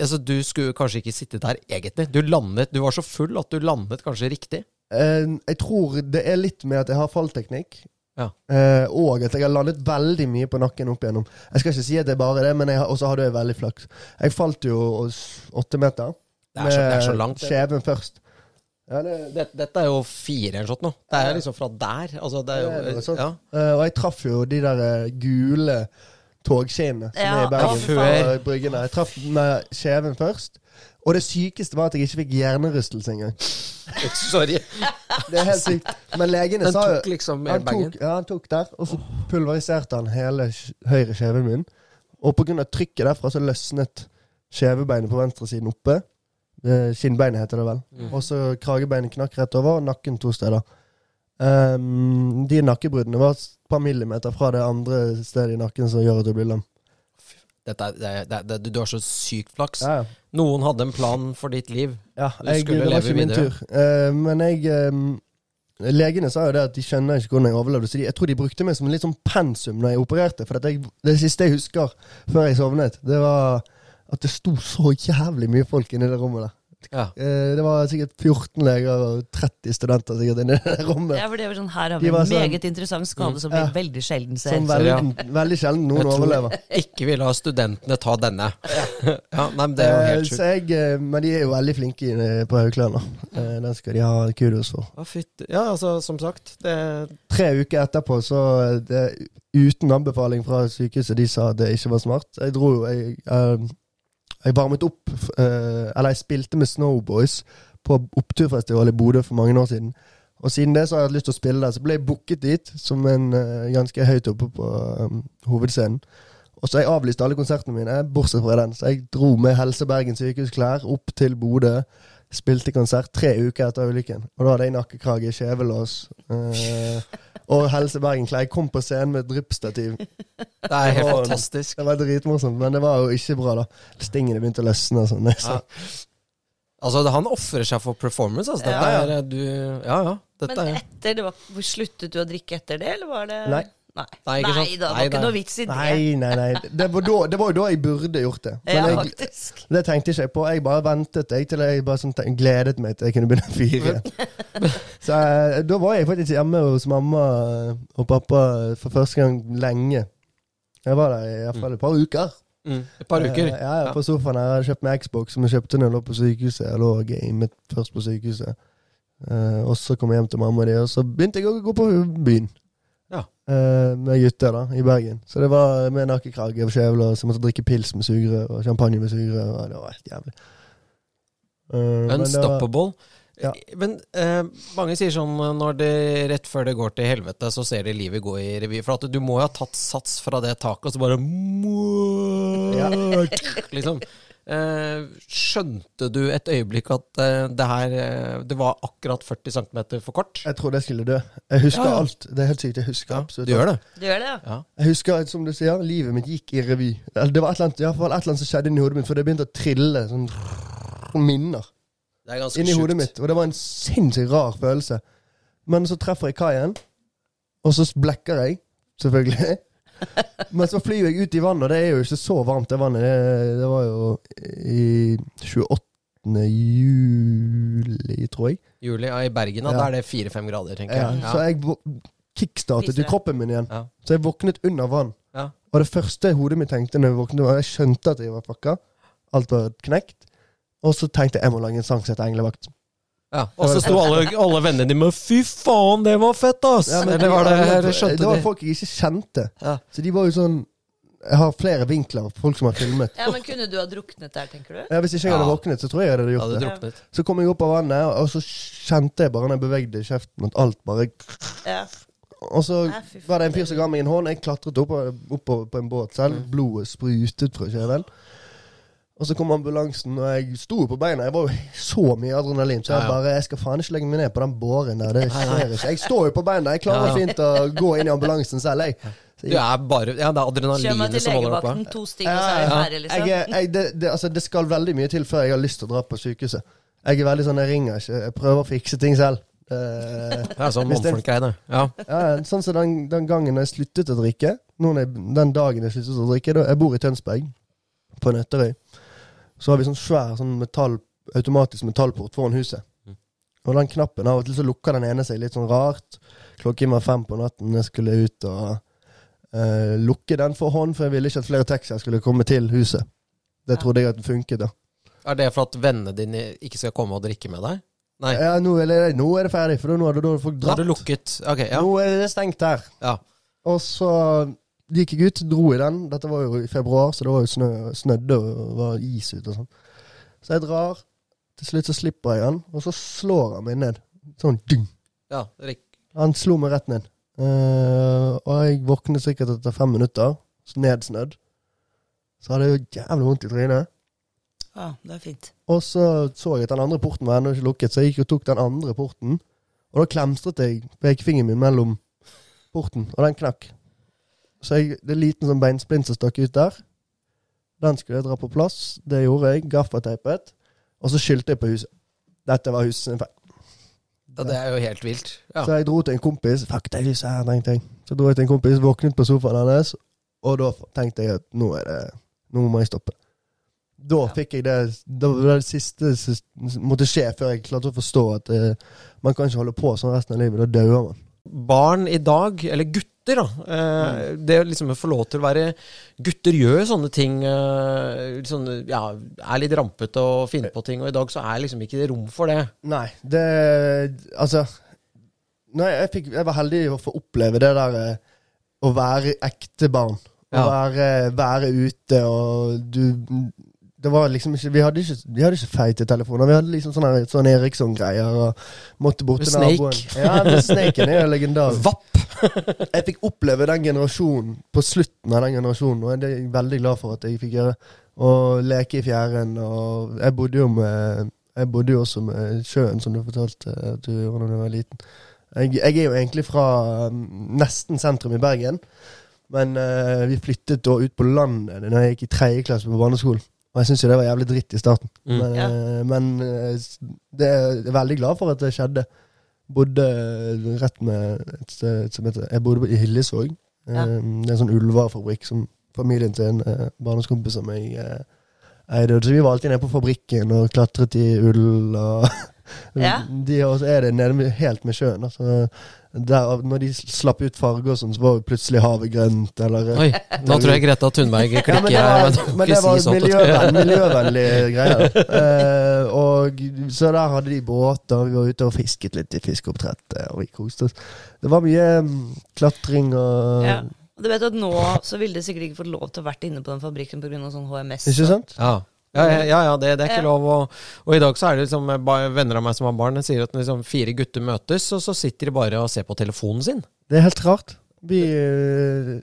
A: altså, Du skulle kanskje ikke sitte der egentlig. Du landet, du var så full at du landet kanskje riktig.
C: Eh, Jeg tror det er litt med at jeg har fallteknikk.
A: Ja.
C: Eh, og at jeg har landet veldig mye på nakken opp igjennom. Jeg skal ikke si at det er bare det, men jeg har- også hadde jeg veldig flaks. Jeg falt jo s- åtte meter.
A: Det er så, det er så
C: med
A: langt. Det,
C: Skjeven først. Ja, det,
A: dette, er jo fire eller sånt nå. Det er liksom fra der. Altså, det
C: Ja, det
A: er
C: er
A: jo
C: sånn.
A: ja.
C: Eh, og jeg traff jo de der eh, gule togskinnene som
B: Ja,
C: er i Bergen.
A: ja, før.
C: fra bryggene. Jeg traff med skjeven først. Og det sykeste var at jeg ikke fikk hjernerystelse engang.
A: Sorry.
C: Det er helt sykt. Men legene
A: Den
C: sa jo
A: tok liksom
C: han
A: airbagen.
C: tok, ja, han tok der, og så pulveriserte han hele sk- høyre skjeven min. Og pga. trykket derfra så løsnet skjevebeinet på venstresiden oppe. Eh, Skinnbeinet heter det vel. Og så kragebeinet knakk rett over, og nakken to steder. Ehm, de nakkebruddene var et par millimeter fra det andre stedet i nakken som gjør at du blir lam.
A: Dette er, det, er- det, er- det, er- du har så sykt flaks.
C: Ja, ja.
A: Noen hadde en plan for ditt liv.
C: Ja,
A: Du
C: jeg,
A: skulle
C: det var
A: leve
C: ikke min
A: videre.
C: tur. Eh, men jeg eh, Legene sa jo det at de skjønner ikke hvordan jeg overlevde. Så de, jeg tror de brukte meg som litt sånn pensum når jeg opererte. For at jeg, det siste jeg husker før jeg sovnet, det var at det sto så jævlig mye folk inni det rommet der.
A: Ja.
C: Eh, det var sikkert 14 leger og 30 studenter sikkert inni det rommet.
B: Ja, for det var sånn, her har
C: De
B: vi
C: var
B: en
C: sånn- Mm.
B: meget interessant skade som vi
C: Ja. Sånn
B: veldig sjelden ser.
C: Som
B: Så-
C: veldig,
A: ja.
C: veldig sjelden noen
A: Jeg tror-
C: overlever.
A: Ikke vil ha studentene ta denne. Ja, nei, men det er jo
C: Eh,
A: helt
C: så
A: sjukt.
C: jeg, eh, men de er jo veldig flinke inne på Haukeland. da. Eh, den skal de ha kudos for.
A: Å, fytti- Ja, altså, som sagt. Det,
C: Tre uker etterpå, så eh, det, uten anbefaling fra sykehuset, de sa at det ikke var smart. Jeg dro jo Jeg, eh, jeg varmet opp f- eh, Eller jeg spilte med Snowboys på oppturfestival i Bodø for mange år siden. Og siden det så har jeg hatt lyst til å spille der. Så ble jeg booket dit som en eh, ganske høyt oppe på eh, hovedscenen. Og så har jeg avlyst alle konsertene mine, bortsett fra den. Så jeg dro med Helse Bergen sykehusklær opp til Bodø. Spilte konsert tre uker etter ulykken. Og da hadde jeg nakkekrage, skjevelås eh, og Helse Bergen-klær. Jeg kom på scenen med et dryppstativ.
A: det er helt
C: Ja.
A: fantastisk.
C: Det var dritmorsomt, men det var jo ikke bra, da. Stingene begynte å løsne og sånn.
A: Ja. Altså, det- han ofrer seg for performance, altså. Dette
C: Ja, ja.
A: er du Ja, ja. Dette
B: Men
A: er
B: etter det var, sluttet du å drikke etter det, eller var det
C: Nei.
B: Nei,
A: Nei, ikke sant?
B: da, det
A: Nei,
B: var ikke
A: nei.
B: noe vits i det.
C: Nei, nei, nei. Det var, da, det var jo da jeg burde gjort det.
B: ja,
C: Men jeg,
B: faktisk.
C: det tenkte ikke jeg på. Jeg bare ventet jeg, til jeg bare sånn, tenk- gledet meg til jeg kunne begynne å fyre. Så eh, da var jeg faktisk hjemme hos mamma eh, og pappa for første gang lenge. Jeg var der i hvert fall et par uker.
A: mm, Et par uker.
C: Eh, Ja, ja, på sofaen her. Jeg hadde kjøpt meg Xbox, som jeg kjøpte når jeg lå på sykehuset. Jeg lå og gamet først på sykehuset. Eh, og så kom jeg hjem til mamma og de, og så begynte jeg å gå på byen.
A: Ja.
C: Eh, med gutter, da, i Bergen. Så det var med nakkekrage og skjevle, og så måtte jeg drikke pils med sugerør, og champagne med sugerør, og det var helt jævlig. Eh, men det var-
A: Unstoppable.
C: Ja.
A: Men eh, mange sier sånn eh, når det, rett før det går til helvete, så ser de livet gå i revy. For at du må jo ha tatt sats fra det taket, og så bare liksom. Eh, skjønte du et øyeblikk at eh, det her eh, Det var akkurat 40 cm for kort?
C: Jeg trodde jeg skulle dø. Jeg husker
A: Ja, ja.
C: alt. Det er helt sykt. Jeg husker absolutt
A: du gjør det?
B: Du gjør det, ja?
C: Jeg husker, som du sier, livet mitt gikk i revy. Eller Det var et eller annet, i hvert fall et eller annet som skjedde inni hodet mitt, for det begynte å trille sånn minner.
A: Det er ganske
C: inni
A: sjukt.
C: hodet mitt. Og det var en sinnssykt rar følelse. Men så treffer jeg kaien, og så blekker jeg, selvfølgelig. Men så flyr jeg ut i vannet, og det er jo ikke så varmt, det vannet. Det, det var jo i 28. juli, tror jeg.
A: Juli, ja, I Bergen, da,
C: Ja.
A: da er det 4-5 grader, tenker
C: Ja,
A: jeg.
C: Så jeg vå- kickstartet i kroppen min igjen.
A: Ja.
C: Så jeg våknet under vann.
A: Ja.
C: Og det første hodet mitt tenkte når jeg våknet, var jeg skjønte at jeg var fucka. Alt var knekt. Og så tenkte jeg jeg må lage en sang som heter Englevakt.
A: Ja, Og så sto alle, alle vennene dine med 'fy faen, det var fett', ass!
C: Ja, men
A: Eller var det,
C: alle-
A: skjønte
C: det var
A: de?
C: folk jeg ikke kjente.
A: Ja.
C: Så de var jo sånn Jeg har flere vinkler, folk som har filmet.
B: ja. Men kunne du ha druknet der, tenker du?
C: Ja, hvis ikke jeg hadde
A: Ja.
C: våknet, så tror jeg jeg hadde gjort
A: Hadde
C: det.
A: druknet.
C: Så kom jeg opp av vannet, og så kjente jeg bare når jeg bevegde kjeften, at alt bare
B: Ja.
C: Og så
B: Ja, fy faen. Mm.
C: var det en fyr som ga meg en hånd. Jeg klatret opp, opp på, på en båt selv. Blodet sprutet fra kjeven. Og så kom ambulansen, og jeg sto på beina. Jeg var jo så mye adrenalin. Så
A: Ja,
C: jeg
A: ja.
C: bare Jeg skal faen ikke legge meg ned på den båren der. Det skjer ikke. Jeg står jo på beina. Jeg
A: Ja,
C: klarer
A: ja.
C: fint å gå inn i ambulansen selv, jeg. Så
A: Du
C: jeg
A: er bare Ja, det er
B: Kjør meg
A: adrenalinet
B: til
A: som holder deg oppe.
B: legevakten, to stykker, så er vi ferdige,
C: jeg,
B: liksom.
C: er- jeg, det, det, altså, det skal veldig mye til før jeg har lyst til å dra på sykehuset. Jeg er veldig sånn, jeg ringer ikke. Jeg prøver å fikse ting selv. Eh,
A: Det er sånn
C: Hvis det-
A: mannfolk er, det. Ja.
C: Ja, ja, sånn som den, den gangen jeg sluttet å drikke. Noen jeg, den dagen jeg sluttet å drikke da, Jeg bor i Tønsberg, på Nøtterøy. Så har vi sånn svær sånn metall, automatisk metallport foran huset. Og den knappen Av og til så lukker den ene seg litt sånn rart. Klokken var fem på natten, jeg skulle ut og eh, lukke den for hånd, for jeg ville ikke at flere taxier skulle komme til huset.
B: Ja.
C: Det trodde jeg at funket, da.
A: Er det for at vennene dine ikke skal komme og drikke med deg? Nei.
C: Ja, nå, er det, nå er det ferdig, for nå har da har folk
A: Da har
C: dratt.
A: du lukket. Ok, ja.
C: Nå er det stengt her.
A: ja.
C: Og så gikk jeg ut, dro i den. Dette var jo i februar, så det var jo snø, snødde og var is ute og sånn. Så jeg drar. Til slutt så slipper jeg han, og så slår han meg ned. Sånn ding.
A: ja. Rik.
C: Han slo meg rett ned. Eh, og jeg våknet sikkert etter fem minutter, så nedsnødd. Så hadde jeg jo jævlig vondt i trynet.
B: Ja, det er fint.
C: Og så så jeg at den andre porten var ennå ikke lukket, så jeg gikk og tok den andre porten. Og da klemstret jeg pekefingeren min mellom porten, og den knakk. Så jeg, det er en liten sånn beinsplint som stakk ut der. Den skulle jeg dra på plass. Det gjorde jeg. Gaffateipet. Og så skyldte jeg på huset. Dette var huset sin feil.
A: ja, det er jo helt vilt. Ja.
C: Så jeg dro til en kompis. Fuck det huset her, tenkte jeg. Så dro jeg til en kompis, våknet på sofaen hennes, og da tenkte jeg at nå er det Nå må jeg stoppe. Da fikk jeg det Det var det siste som måtte skje før jeg klarte å forstå at eh, man kan ikke holde på sånn resten av livet. Da dauer man.
A: Barn i dag, eller gutter, da. Eh, det å liksom å få lov til å være Gutter gjør sånne ting. Eh, sånne, ja, er litt rampete og finner på ting, og i dag så er liksom ikke det rom for det.
C: Nei, det Altså nei, jeg, fikk, jeg var heldig å få oppleve det der eh, å være ekte barn. Å
A: Ja.
C: være, være ute og du Det var liksom ikke Vi hadde ikke, vi hadde ikke feite telefoner. Vi hadde liksom sånne, her- sånne Eriksson-greier og måtte bort til
A: Snake.
C: naboen. Ja, men Snaken er jo legendarisk.
A: Vapp!
C: Jeg fikk oppleve den generasjonen på slutten av den generasjonen, og det er jeg veldig glad for at jeg fikk gjøre. Og leke i fjæren, og jeg bodde jo med Jeg bodde jo også med sjøen, som du fortalte at du gjorde da du var liten. Jeg, jeg er jo egentlig fra um, nesten sentrum i uh, Bergen, men eh, vi flyttet da ut på landet da jeg gikk i tredje klasse på barneskolen. Og jeg syns jo det var jævlig dritt i starten.
A: Mm.
C: Men,
B: Ja.
C: eh, men eh, s- det er jeg er veldig glad for at det skjedde. Bodde eh, rett med et sted som heter Jeg bodde på- i Hillesvåg. Eh,
B: Ja.
C: Det er en sånn ullvarefabrikk som familien til en eh, barndomskompis av meg eh, eide. Så vi var alltid nede på fabrikken og klatret i ull og
B: Ja.
C: de, Og så er det nede med, helt med sjøen. da. Så der, når de slapp ut farger og sånn, så var plutselig havet grønt, eller eh,
A: Oi, nå tror jeg Greta Thunberg
C: ja,
A: klikker.
C: men det
A: her,
C: var,
A: men
C: men
A: ikke
C: det var
A: si sånt.
C: miljøven, miljøvennlige greier. Eh, og så der hadde de båter, vi var ute og fisket litt i fiskeoppdrettet, og vi koste oss. Det var mye mm, klatring og
B: Ja. Og Du vet at nå så ville de sikkert ikke fått lov til å vært inne på den fabrikken pga. sånn HMS.
C: Ikke sant?
A: Ja, ja, ja, ja, ja det, det er ikke
B: Ja.
A: lov. Og, og i dag så er det liksom ba- venner av meg som har barn, de sier at når liksom fire gutter møtes, og så sitter de bare og ser på telefonen sin.
C: Det er helt rart. Vi, eh,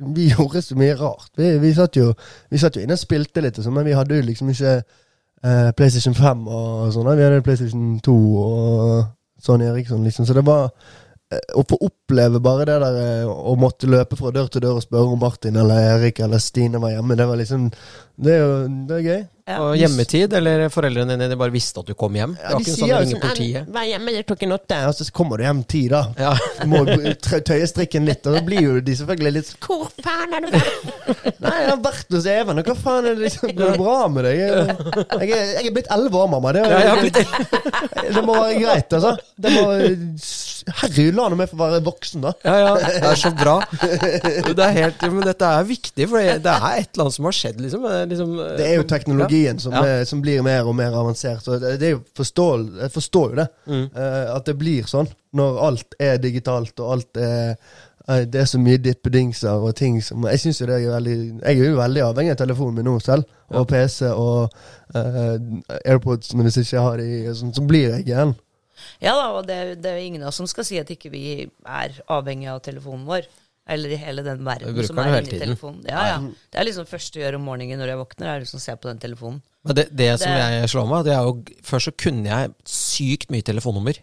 C: vi gjorde så mye rart. Vi, vi, satt jo, vi satt jo inne og spilte litt, og sånn, men vi hadde jo liksom ikke eh, PlayStation 5 og sånn. da. Vi hadde PlayStation 2 og Sonny Eriksson, liksom. Så det var eh, å få oppleve bare det der eh, å måtte løpe fra dør til dør og spørre om Martin eller Erik eller Stine var hjemme, det var liksom Det er jo det er gøy.
B: Ja.
A: Og hjemmetid, eller foreldrene dine de bare visste at du kom hjem. det var ikke en sånn ringe
C: «Nei,
A: politiet.
C: Vær hjemme klokken åtte, og så kommer du hjem ti, da.
A: Ja.
C: Du må br- tø- tøye strikken litt, og da blir jo de selvfølgelig litt sånn
D: Hvor faen er du vært?
C: Nei, jeg har vært hos Even, og hva faen er det liksom Går det bra med deg? Jeg, jeg, er, jeg er blitt elleve år, mamma. Det,
A: Ja, jeg har blitt
C: det må være greit, altså. Det må, herregud, la nå meg få være voksen, da.
A: Ja, ja, det er så bra. Det er helt, men dette er viktig, for det det er et eller annet som har skjedd, liksom. Det er, liksom,
C: Det er jo teknologien som,
A: Ja.
C: er, som blir mer og mer avansert. Og det det er jo forståel, jeg forstår jo det.
A: Mm.
C: eh, at det blir sånn når alt er digitalt, og alt er eh, Det er så mye dippedingser og ting som Jeg synes jo det er veldig Jeg er jo veldig avhengig av telefonen min nå selv, og PC og eh, AirPods, men hvis jeg ikke har de, og sånn, så blir jeg gæren.
B: Ja da, og det, det er jo ingen av oss som skal si at ikke vi er avhengig av telefonen vår. Eller i hele den
A: Vi
B: verden
A: bruker
B: som
A: den
B: er
A: hele
B: inni
A: tiden.
B: telefonen. Ja, ja. Det er liksom første jeg gjør om morgenen når jeg våkner, er liksom å se på den telefonen.
A: Men det, det som
B: Det-
A: jeg slår meg, det er jo Før så kunne jeg sykt mye telefonnummer.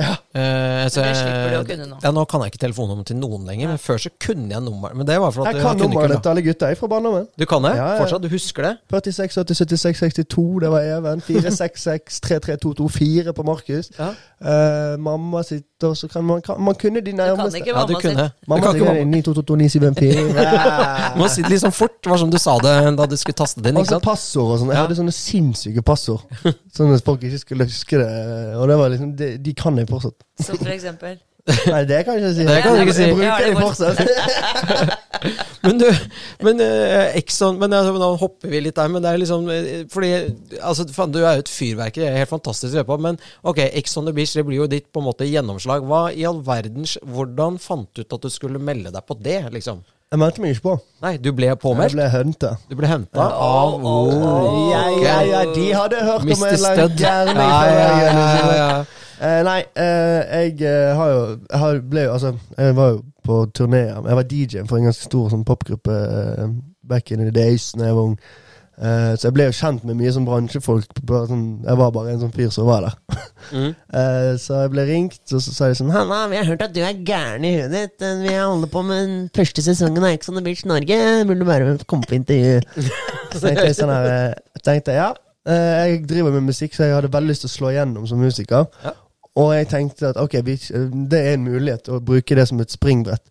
C: Ja.
A: Eh, så
B: Men det slipper
A: jeg-
B: du å kunne nå.
A: Ja, nå kan jeg ikke telefonnummeret til noen lenger, men før så kunne jeg nummer Men det var for at
C: Jeg kan
A: kunne ikke-
C: nummeret til alle gutta jeg fra barndommen.
A: Du kan det?
C: Ja, ja.
A: Fortsatt? Du husker det?
C: 46, 80, 76, 62, det var Even. 466, 33224 på Markus.
A: Ja.
C: Eh, mamma sitt, og så kan man, kan, man kunne de
B: Du kan
C: nærmeste.
B: ikke
A: Ja, du
B: mamma sitt.
A: kunne. Du
C: Mamma
A: kan ikke
C: sier
A: mamma.
C: 92229754.
A: Du må si det litt sånn fort, var som du sa det da du skulle taste det inn.
C: Og
A: Ikke
C: så
A: sant?
C: passord og sånn. Jeg
A: Ja.
C: hadde sånne sinnssyke passord. Sånn at folk ikke skulle huske det. Og det var liksom, de, de kan jeg fortsatt.
B: Som for eksempel.
C: Nei, det kan jeg ikke si.
A: Det kan du ikke si.
B: Ja,
C: Jeg bruker
B: det
C: de
B: går-
C: fortsatt.
A: Men du, men eh, Exxon men, altså, Nå hopper vi litt der, men det er liksom eh, Fordi altså, faen, du er jo et fyrverkeri, det er helt fantastisk å høre på. Men ok, Exxon the Beach, det blir jo ditt på en måte gjennomslag. Hva i all verdens Hvordan fant du ut at du skulle melde deg på det, liksom?
C: Jeg meldte meg ikke på.
A: Nei, du ble
C: Jeg
A: påmeldt?
C: ble hunta.
A: Du ble henta av
B: Åh,
C: Ja, ja, ja, de hadde hørt om
A: Mr.
C: en eller annen
A: Stud.
C: gærning.
A: Ja,
C: fra
A: ja, ja,
C: Bergen,
A: ja,
C: liksom.
A: ja.
C: Eh, nei, eh, jeg eh, har jo jeg har, ble jo, Altså, jeg var jo på turné Jeg var DJ for en ganske stor sånn, popgruppe eh, back in the days da jeg var ung. Eh, så jeg ble jo kjent med mye sånn bransjefolk. Bare, sånn, jeg var bare en sånn fyr som var der.
A: Mm.
C: Eh, så jeg ble ringt, og så sa de sånn Hanna, vi har hørt at du er gæren i huet ditt. Eh, Vi holder på med den første sesongen av Ex on the Beach Norge. Burde du bare komme på intervju? Så tenkte jeg sånn her eh, tenkte, jeg, Ja, eh, jeg driver med musikk, så jeg hadde veldig lyst til å slå igjennom som musiker.
A: Ja.
C: Og jeg tenkte at ok, vi, eh, det er en mulighet å bruke det som et springbrett.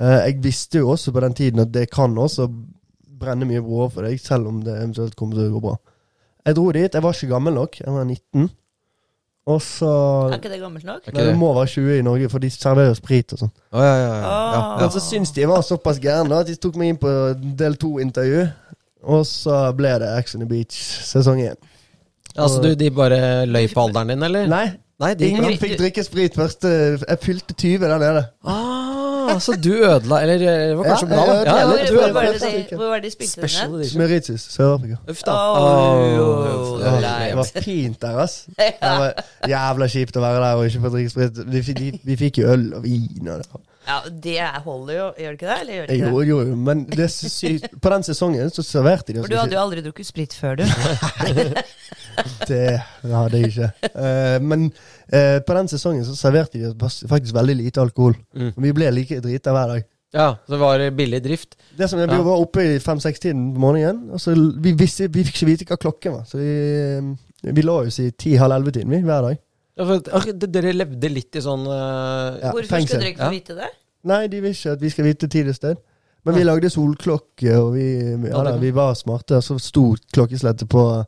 C: Eh, jeg visste jo også på den tiden at det kan også brenne mye broer for deg, selv om det eventuelt kommer til å gå bra. Jeg dro dit. Jeg var ikke gammel nok. Jeg var 19. Og så
B: Er ikke det gammelt nok?
A: Ok,
C: Nei,
A: det-
C: Du må være 20 i Norge, for de serverer sprit og sånn.
A: Å, ja, ja, ja. ja, ja.
C: Men så Altså, syns de jeg var såpass gæren da, at de tok meg inn på del to-intervju. Og så ble det Ex on the Beach sesong én.
A: Altså, du, de bare løy på alderen din, eller?
C: Nei,
A: Nei de
C: ingen fikk drikke sprit første Jeg fylte 20 der nede.
A: Ah, så du ødela Eller eh, det var kanskje
C: Ja,
A: bra, da.
C: jeg
A: Ja, ja,
B: Hvor,
C: ødela det
B: hvor,
A: du
C: tror
B: hvor,
C: jeg
B: var
A: ødela
C: bare-
B: det de- hvor var det de spilte den?
A: Special
B: hen?
A: edition.
C: Mauritius, Sør-Afrika.
A: Uff da.
B: Åh,
A: Åh,
B: det er
A: det
C: Det
A: er
C: var
A: leit.
C: fint der, ass. Det var jævla kjipt å være der og ikke få drikke sprit. Vi, fikk- de, vi fikk jo øl og vin og det. var-
B: Ja, det er- holder jo, gjør det ikke det? Eller gjør det ikke
C: Eh, Jo,
B: det?
C: jo, jo, men det er så sykt. På den sesongen så serverte de oss
B: For du
C: ikke-
B: hadde jo aldri drukket sprit før, du.
C: Det hadde jeg ikke. Eh, men eh, på den sesongen så serverte de oss faktisk veldig lite alkohol.
A: Mm.
C: Vi ble like drita hver dag.
A: Ja, så det var billig drift.
C: Det som er,
A: Ja.
C: Vi var oppe i fem-seks-tiden på morgenen. Og så l- vi, visste, vi fikk ikke vite hva klokken var. Så vi, eh, vi la oss i ti-halv elleve-tiden vi, hver dag.
A: Ja, for, at- ak- d- dere levde litt i sånn eh,
C: Ja,
B: Hvorfor
C: fengsel.
B: skulle dere ikke
A: Ja.
B: få vite det?
C: Nei, de vil ikke at vi skal vite tid og sted. Men vi lagde solklokke, og vi, ja, da, vi var smarte. Og så sto klokkeslettet på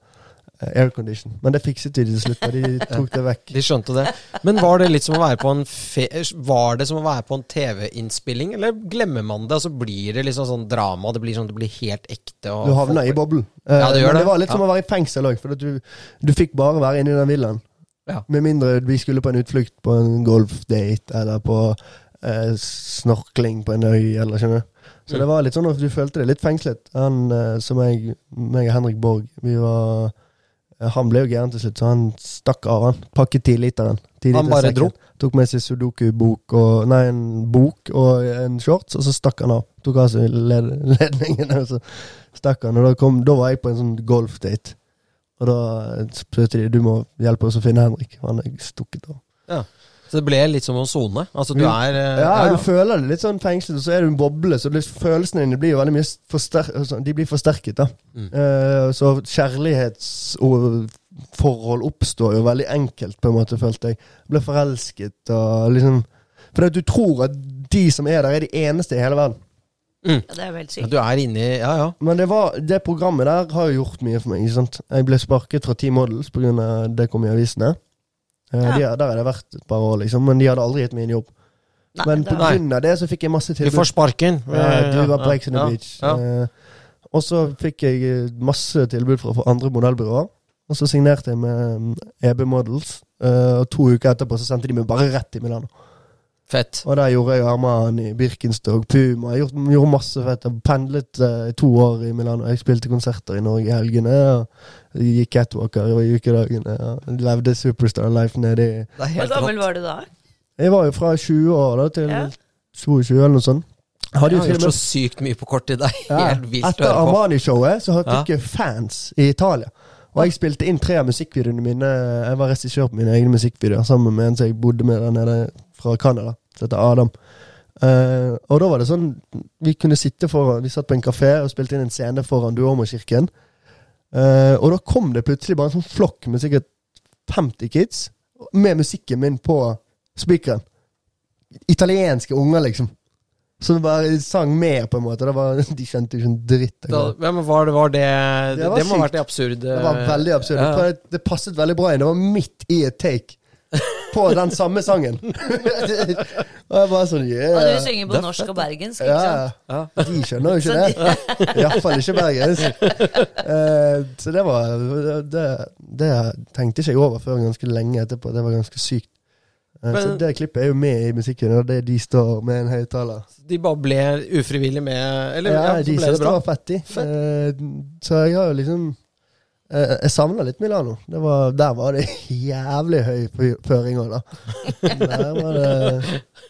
C: eh, aircondition. Men det fikset de til slutt. og De tok det vekk.
A: De skjønte det. Men var det litt som å være på en fe Var det som å være på en TV-innspilling, eller glemmer man det, og så blir det liksom sånn drama, det blir sånn det blir helt ekte og
C: Du havna i boblen. Eh,
A: Ja, det gjør
C: men
A: det.
C: var litt som å være i fengsel òg, for at du, du fikk bare være inne i den villaen.
A: Ja.
C: Med mindre vi skulle på en utflukt på en golfdate eller på eh, snorkling på en øy, eller skjønner du. Så
A: Mm.
C: det var litt sånn at du følte deg litt fengslet. Han eh, som jeg, meg og Henrik Borg, vi var eh, Han ble jo gæren til slutt, så han stakk av, han. Pakket tiliteren.
A: Han bare dro?
C: Tok med seg sudoku-bok og Nei, en bok og en shorts, og så stakk han av. Tok av seg led ledningen, og så stakk han. Og da, kom, da var jeg på en sånn golfdate. Og da spurte de du må hjelpe oss å finne Henrik. Og han er stukket av.
A: Så det ble litt som å sone. Altså, du
C: Ja.
A: er eh,
C: Mm. Ja, du føler det litt sånn fengslet, og så er du en boble, så det, følelsene dine blir jo veldig mye forster altså, De blir forsterket, da.
A: Mm.
C: Eh, så kjærlighetsforhold oppstår jo veldig enkelt, på en måte, følte jeg. Ble forelsket og liksom Fordi at du tror at de som er der, er de eneste i hele verden.
B: Ja, det er jo helt
A: Ja,
B: sykt.
A: du er inni Ja, ja.
C: Men det, var, det programmet der har jo gjort mye for meg. Ikke sant? Jeg ble sparket fra T Models pga. det kom i avisene. Eh,
B: Ja.
C: de, der har jeg vært et par år, liksom, men de hadde aldri gitt meg en jobb.
B: Nei,
C: men
B: det er-
A: Nei.
C: pga. det så fikk jeg masse
A: Du
C: tilbud.
A: får sparken.
C: Eh, du var på Ex on the
A: Ja,
C: Beach.
A: ja.
C: Eh, og så fikk jeg eh, masse tilbud fra, fra andre modellbyråer. Og så signerte jeg med mm, EB Models, eh, og to uker etterpå så sendte de meg bare rett i Milano.
A: Fett.
C: Og der gjorde jeg Armani, Birkenstock, Puma. Jeg gjorde, gjorde masse fett. Jeg pendlet eh, i to år i Milano. Jeg spilte konserter i Norge i helgene. Og gikk catwalker i ukedagene. Og levde Superstar Life nedi
A: Det er
B: Hvor
A: helt
B: gammel
A: rått.
B: var du da?
C: Jeg var jo fra 20 år da til eh,
B: Ja.
C: 22 eller noe sånt. Jeg
A: Jeg
C: Hadde jo
A: har
C: til og
A: gjort
C: med
A: så sykt mye på kort tid. Det er
C: Ja,
A: helt vilt å
C: Etter
A: høre på.
C: Armani-showet så
A: Ja.
C: fikk jeg fans i Italia. Og jeg spilte inn tre av musikkvideoene mine. Jeg var regissør på mine egne musikkvideoer sammen med en som jeg bodde med der nede fra Canada, som heter Adam. Eh, og da var det sånn Vi kunne sitte foran Vi satt på en kafé og spilte inn en scene foran Duomo-kirken. Eh, og da kom det plutselig bare en sånn flokk med sikkert 50 kids med musikken min på speakeren. Italienske unger, liksom. Som bare sang med, på en måte. Det var, de skjønte jo ikke en dritt. av
A: Da,
C: det.
A: ja, men var det, var det, det, må ha
C: var sykt.
A: vært det absurde
C: Det var veldig absurd.
A: eh, Ja.
C: For det- det passet veldig bra inn. Det var midt i et take på den samme sangen. og jeg bare sånn
B: Og du
C: yeah.
B: synger
A: det
B: på
A: er
B: norsk og bergensk, ikke sant?
C: Ja,
A: Ja.
C: de skjønner jo ikke det. Iallfall ikke bergensk. Eh, så det var det, det tenkte ikke jeg over før ganske lenge etterpå. Det var ganske sykt. Eh, så
A: Men-
C: det klippet er jo med i musikkvideoen, og det de står med en høyttaler.
A: De bare ble ufrivillig med Eller ja,
C: Ja,
A: så
C: de
A: ble
C: syntes
A: det
C: det
A: bra.
C: var fett, de. Eh, så jeg har jo liksom eh, Jeg savna litt Milano. Det var, der var det jævlig høy fy- føring òg, da. Der var det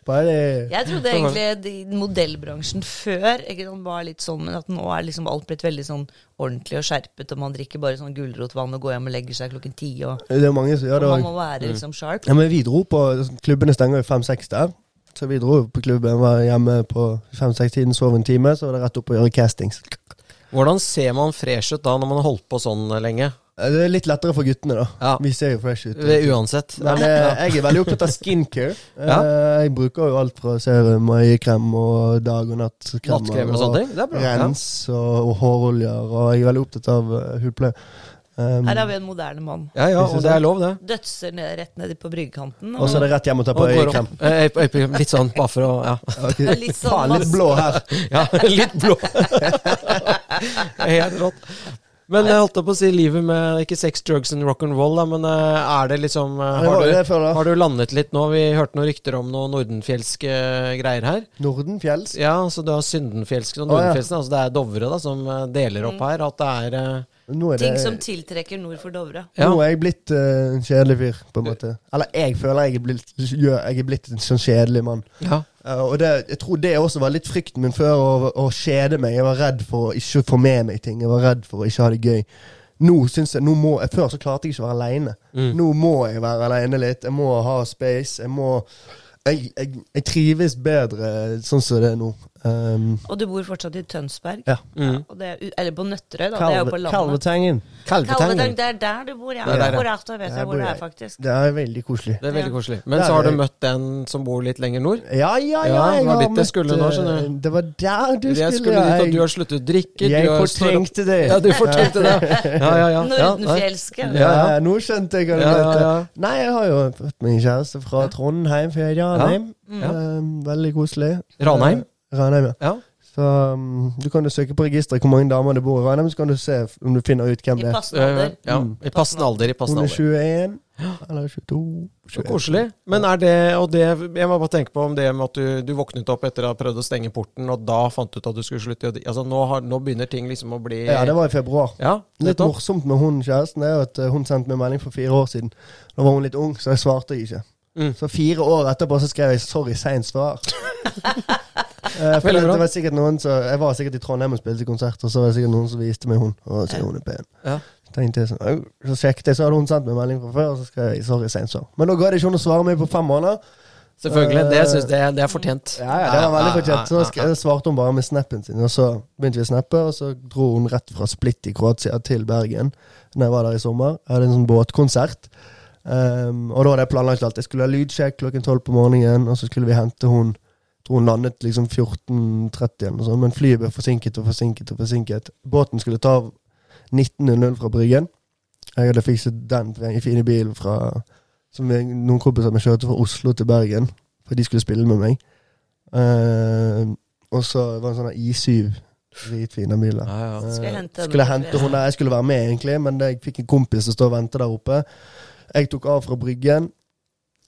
C: bare
B: Jeg trodde egentlig de- modellbransjen før ikke sant, var litt sånn, men at nå er liksom alt blitt veldig sånn ordentlig og skjerpet, og man drikker bare sånn gulrotvann og går hjem og legger seg klokken ti, og,
C: Det er mange som
B: og
C: gjør det
B: man
C: òg.
B: må være liksom sharp.
C: Ja, men vi dro på Klubbene stenger jo fem-seks der. Så vi dro på klubben, var hjemme på fem-seks-tiden, sov en time, så var det rett opp og gjøre castings.
A: Hvordan ser man fresh ut da, når man har holdt på sånn lenge?
C: Eh, Det er litt lettere for guttene, da.
A: Ja.
C: Vi ser jo fresh ut.
A: Det- Uansett.
C: Men eh, jeg er veldig opptatt av skincare. Eh, Jeg bruker jo alt fra serum, øyekrem og dag- og nattkrem.
A: Nattkremer og sånne ting. Det er bra. Ja.
C: Rens og, og håroljer. Og jeg er veldig opptatt av eh, hudpleie. Um,
B: Her har vi en moderne mann.
A: ja, ja, og det er lov, det.
B: Dødser ned, rett ned på bryggekanten.
C: og så er det rett hjem og ta på
A: Og går
C: øyekrem.
A: opp- eh, øy- øy- Litt sånn, bare for å Ja,
C: Ok.
B: er litt sånn
C: Faen, litt
B: masse-
C: blå her.
A: ja litt blå. Helt rått. Men jeg holdt på å si livet med ikke sex, drugs and rock'n'roll, da, men eh, er det liksom eh,
C: Det
A: har
C: var jo
A: du,
C: det jeg føler.
A: har du landet litt nå? Vi hørte noen rykter om noen nordenfjelske eh, greier her.
C: Nordenfjells.
A: Ja, så du har Syndenfjelsk og
C: Å, ja.
A: Nordenfjelsen. Altså det er Dovre da, som eh, deler opp her. At det er eh,
C: Nå er det
B: Ting som tiltrekker nord for Dovre.
A: ja.
C: Nå er jeg blitt eh, en kjedelig fyr, på en måte. Eller jeg føler jeg er blitt, jeg er blitt en sånn kjedelig mann.
A: ja.
C: Eh, og det, jeg tror det også var litt frykten min før å, å kjede meg. Jeg var redd for å ikke få med meg ting. Jeg var redd for å ikke ha det gøy. Nå synes jeg, nå må, jeg Før så klarte jeg ikke å være aleine.
A: Mm.
C: Nå må jeg være aleine litt. Jeg må ha space. Jeg må jeg, jeg, jeg trives bedre sånn som det er nå. Eh, Um,
B: Og du bor fortsatt i Tønsberg.
C: Ja.
A: Mm.
B: Og det er, u- eller på Nøtterøy, da. det er jo på
E: Kalve,
B: landet.
E: Kalvetangen.
B: Kalvetang,
A: Kalvetang.
B: det er der du bor, ja.
A: Det er der, ja.
B: Akkurat, da vet
C: Der
B: jeg hvor
C: bor
B: det er,
C: jeg.
B: faktisk.
C: det er veldig koselig.
A: Det er veldig koselig.
C: Det
A: Men
C: er
A: så har du
C: det.
A: møtt den som bor litt lenger nord.
C: Ja, ja, ja.
A: Ja, det
C: jeg
A: var
C: har
A: dit jeg
C: møtt,
A: skulle nå, skjønner du.
C: eh, Det var der du
A: Jeg skulle
C: skulle,
A: dit at du
C: jeg.
A: har sluttet å drikke.
E: Jeg
A: du har står opp-
E: fortrengte det.
A: Ja, du fortrengte det. Ja, ja, ja. ja. nei.
B: Nordenfjelske.
A: Ja, ja.
C: Ja, nå skjønte jeg hva du
A: Ja,
C: mente.
A: ja, ja.
C: Nei, jeg har jo fått meg en kjæreste fra Trondheim, fra Janheim.
A: Ja.
C: Um, veldig koselig.
A: Ranheim.
C: Eh, Ranheim, ja.
A: Ja.
C: Så um, du kan jo søke på registeret hvor mange damer det bor i Ranheim, så kan du se om du finner ut hvem
B: I
C: det er.
B: passende alder.
A: Eh,
B: Mm.
A: ja. I passende alder. I
C: Hun
A: passende
C: er
A: alder.
C: 21, eller 22
A: Så koselig. Men er det Og det Jeg må bare tenke på om det med at du, du våknet opp etter å ha prøvd å stenge porten, og da fant du ut at du skulle slutte å drikke. Altså, nå, har, nå begynner ting liksom å bli
C: Ja, det var i februar.
A: Ja,
C: Litt
A: nettopp.
C: morsomt med hun kjæresten er jo at eh, hun sendte meg melding for fire år siden. Da var hun litt ung, så jeg svarte ikke.
A: Mm.
C: Så fire år etterpå så skrev jeg 'sorry, seint svar'. Eh, for
A: Veldig
C: det,
A: bra.
C: det var sikkert noen som, Jeg var sikkert i Trondheim og spilte konsert, og så var det sikkert noen som viste meg hun. Og så hun er pen.
A: Ja.
C: Tenkte jeg sånn, «Au». Så sjekket jeg, så hadde hun sendt meg melding fra før, og så skrev jeg 'sorry, seint svar'. Men da ga det ikke hun å svare meg på fem måneder.
A: Selvfølgelig. Det syns jeg det er fortjent.
C: Eh, Ja, ja, det var veldig fortjent. Så
A: ja,
C: da sk- svarte hun bare med snappen sin, og så begynte vi å snappe, og så dro hun rett fra Split i Kroatia til Bergen Når jeg var der i sommer. Jeg hadde en sånn båtkonsert. Um, og da hadde jeg planlagt alt. Jeg skulle ha lydsjekk klokken tolv på morgenen, og så skulle vi hente hun jeg tror hun landet liksom 14.30 eller noe sånt, men flyet ble forsinket og forsinket og forsinket. Båten skulle ta av 19.00 fra Bryggen. Jeg hadde fikset den til en fin bil fra som jeg, noen kompiser med kjørte fra Oslo til Bergen, for de skulle spille med meg. Eh, og så var det en sånn her I7. Dritfine biler. Eh,
A: ja, ja.
B: Skal jeg hente henne?
C: Skulle jeg hente hun der? Jeg skulle være med, egentlig, men jeg fikk en kompis som står og venter der oppe. Jeg tok av fra bryggen,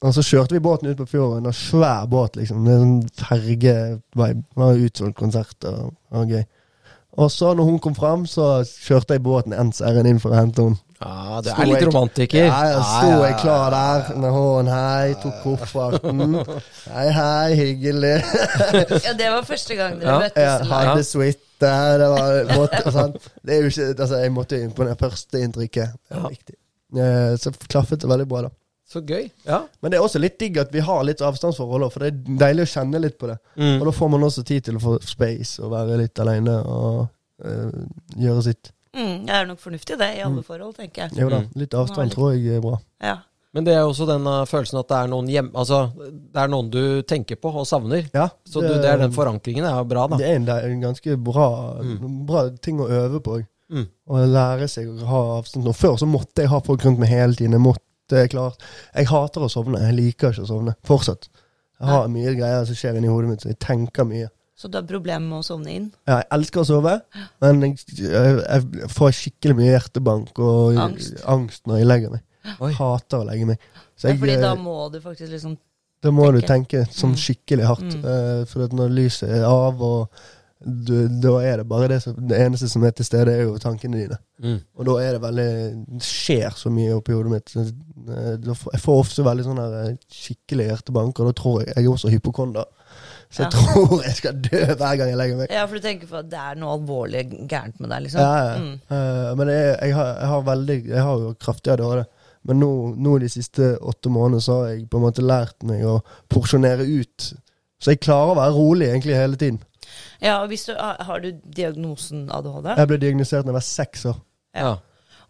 C: og så kjørte vi båten ut på fjorden. En svær båt, liksom. Det er sånn ferge-vibe. Det var Utsolgt konsert og, og gøy. Og så, når hun kom fram, så kjørte jeg båten ens ærend inn for å hente henne.
A: Ja, det
C: Sto
A: er litt
C: jeg-
A: romantiker.
C: Ja, ja, sto jeg klar der med hånden hei, tok kofferten. Hei, hei, hyggelig.
B: Ja, det var første gang dere
A: Ja.
B: møttes
C: Jeg
B: live.
A: Ja.
C: hadde suite. Det var måtte, sånn. Det er jo ikke Altså, jeg måtte jo imponere. Førsteinntrykket er
A: Ja.
C: viktig. Eh, Så klaffet det veldig bra, da.
A: Så gøy. Ja.
C: Men det er også litt digg at vi har litt avstandsforhold òg, for det er deilig å kjenne litt på det.
A: Mm.
C: Og da får man også tid til å få space og være litt aleine og eh, gjøre sitt.
B: Mm, det er nok fornuftig, det, i alle forhold, tenker jeg.
C: Jo da,
A: Mm.
C: litt
B: Man har
C: avstand
B: litt-
C: tror jeg er bra.
B: Ja.
A: Men det er jo også den uh, følelsen at det er noen hjem... Altså, det er noen du tenker på og savner.
C: Ja,
A: Så du, det er den forankringen er jo bra, da.
C: Det er en, det er en ganske bra,
B: Mm.
C: bra ting å øve på.
A: Mm.
C: Å lære seg å ha avstand. Og før så måtte jeg ha folk rundt meg hele tiden. Jeg måtte klart. Jeg hater å sovne. Jeg liker ikke å sovne. Fortsatt. Jeg har mye greier som skjer inni hodet mitt, så jeg tenker mye.
B: Så du har problemer med å sovne inn?
C: Ja, Jeg elsker å sove, men jeg, jeg, jeg får skikkelig mye hjertebank og
B: Angst.
C: angst når jeg legger meg.
A: Oi.
C: Hater å legge meg. Så
B: Ja,
C: jeg,
B: fordi da
C: eh,
B: må du faktisk liksom
C: Da må du
B: tenke.
C: tenke sånn
B: Mm.
C: skikkelig hardt.
B: Mm.
C: eh, for at når lyset er av, og du, da er det bare det som Det eneste som er til stede, er jo tankene dine.
A: Mm.
C: Og da er det veldig skjer så mye oppi hodet mitt. Så, eh, da får- jeg får ofte veldig sånn her eh, skikkelig hjertebank, og da tror jeg Jeg er også hypokonder. Så jeg
B: Ja.
C: tror jeg skal dø hver gang jeg legger meg.
B: Ja, for du tenker på at det er noe alvorlig gærent med deg, liksom.
C: Ja, ja.
B: Mm.
C: Eh, men jeg, jeg, har, jeg har veldig Jeg har jo kraftig ADHD. Men nå, nå de siste åtte månedene så har jeg på en måte lært meg å porsjonere ut. Så jeg klarer å være rolig egentlig hele tiden.
B: ja og hvis du, har du diagnosen ADHD?
C: Jeg ble diagnosert da jeg var seks år.
A: Ja.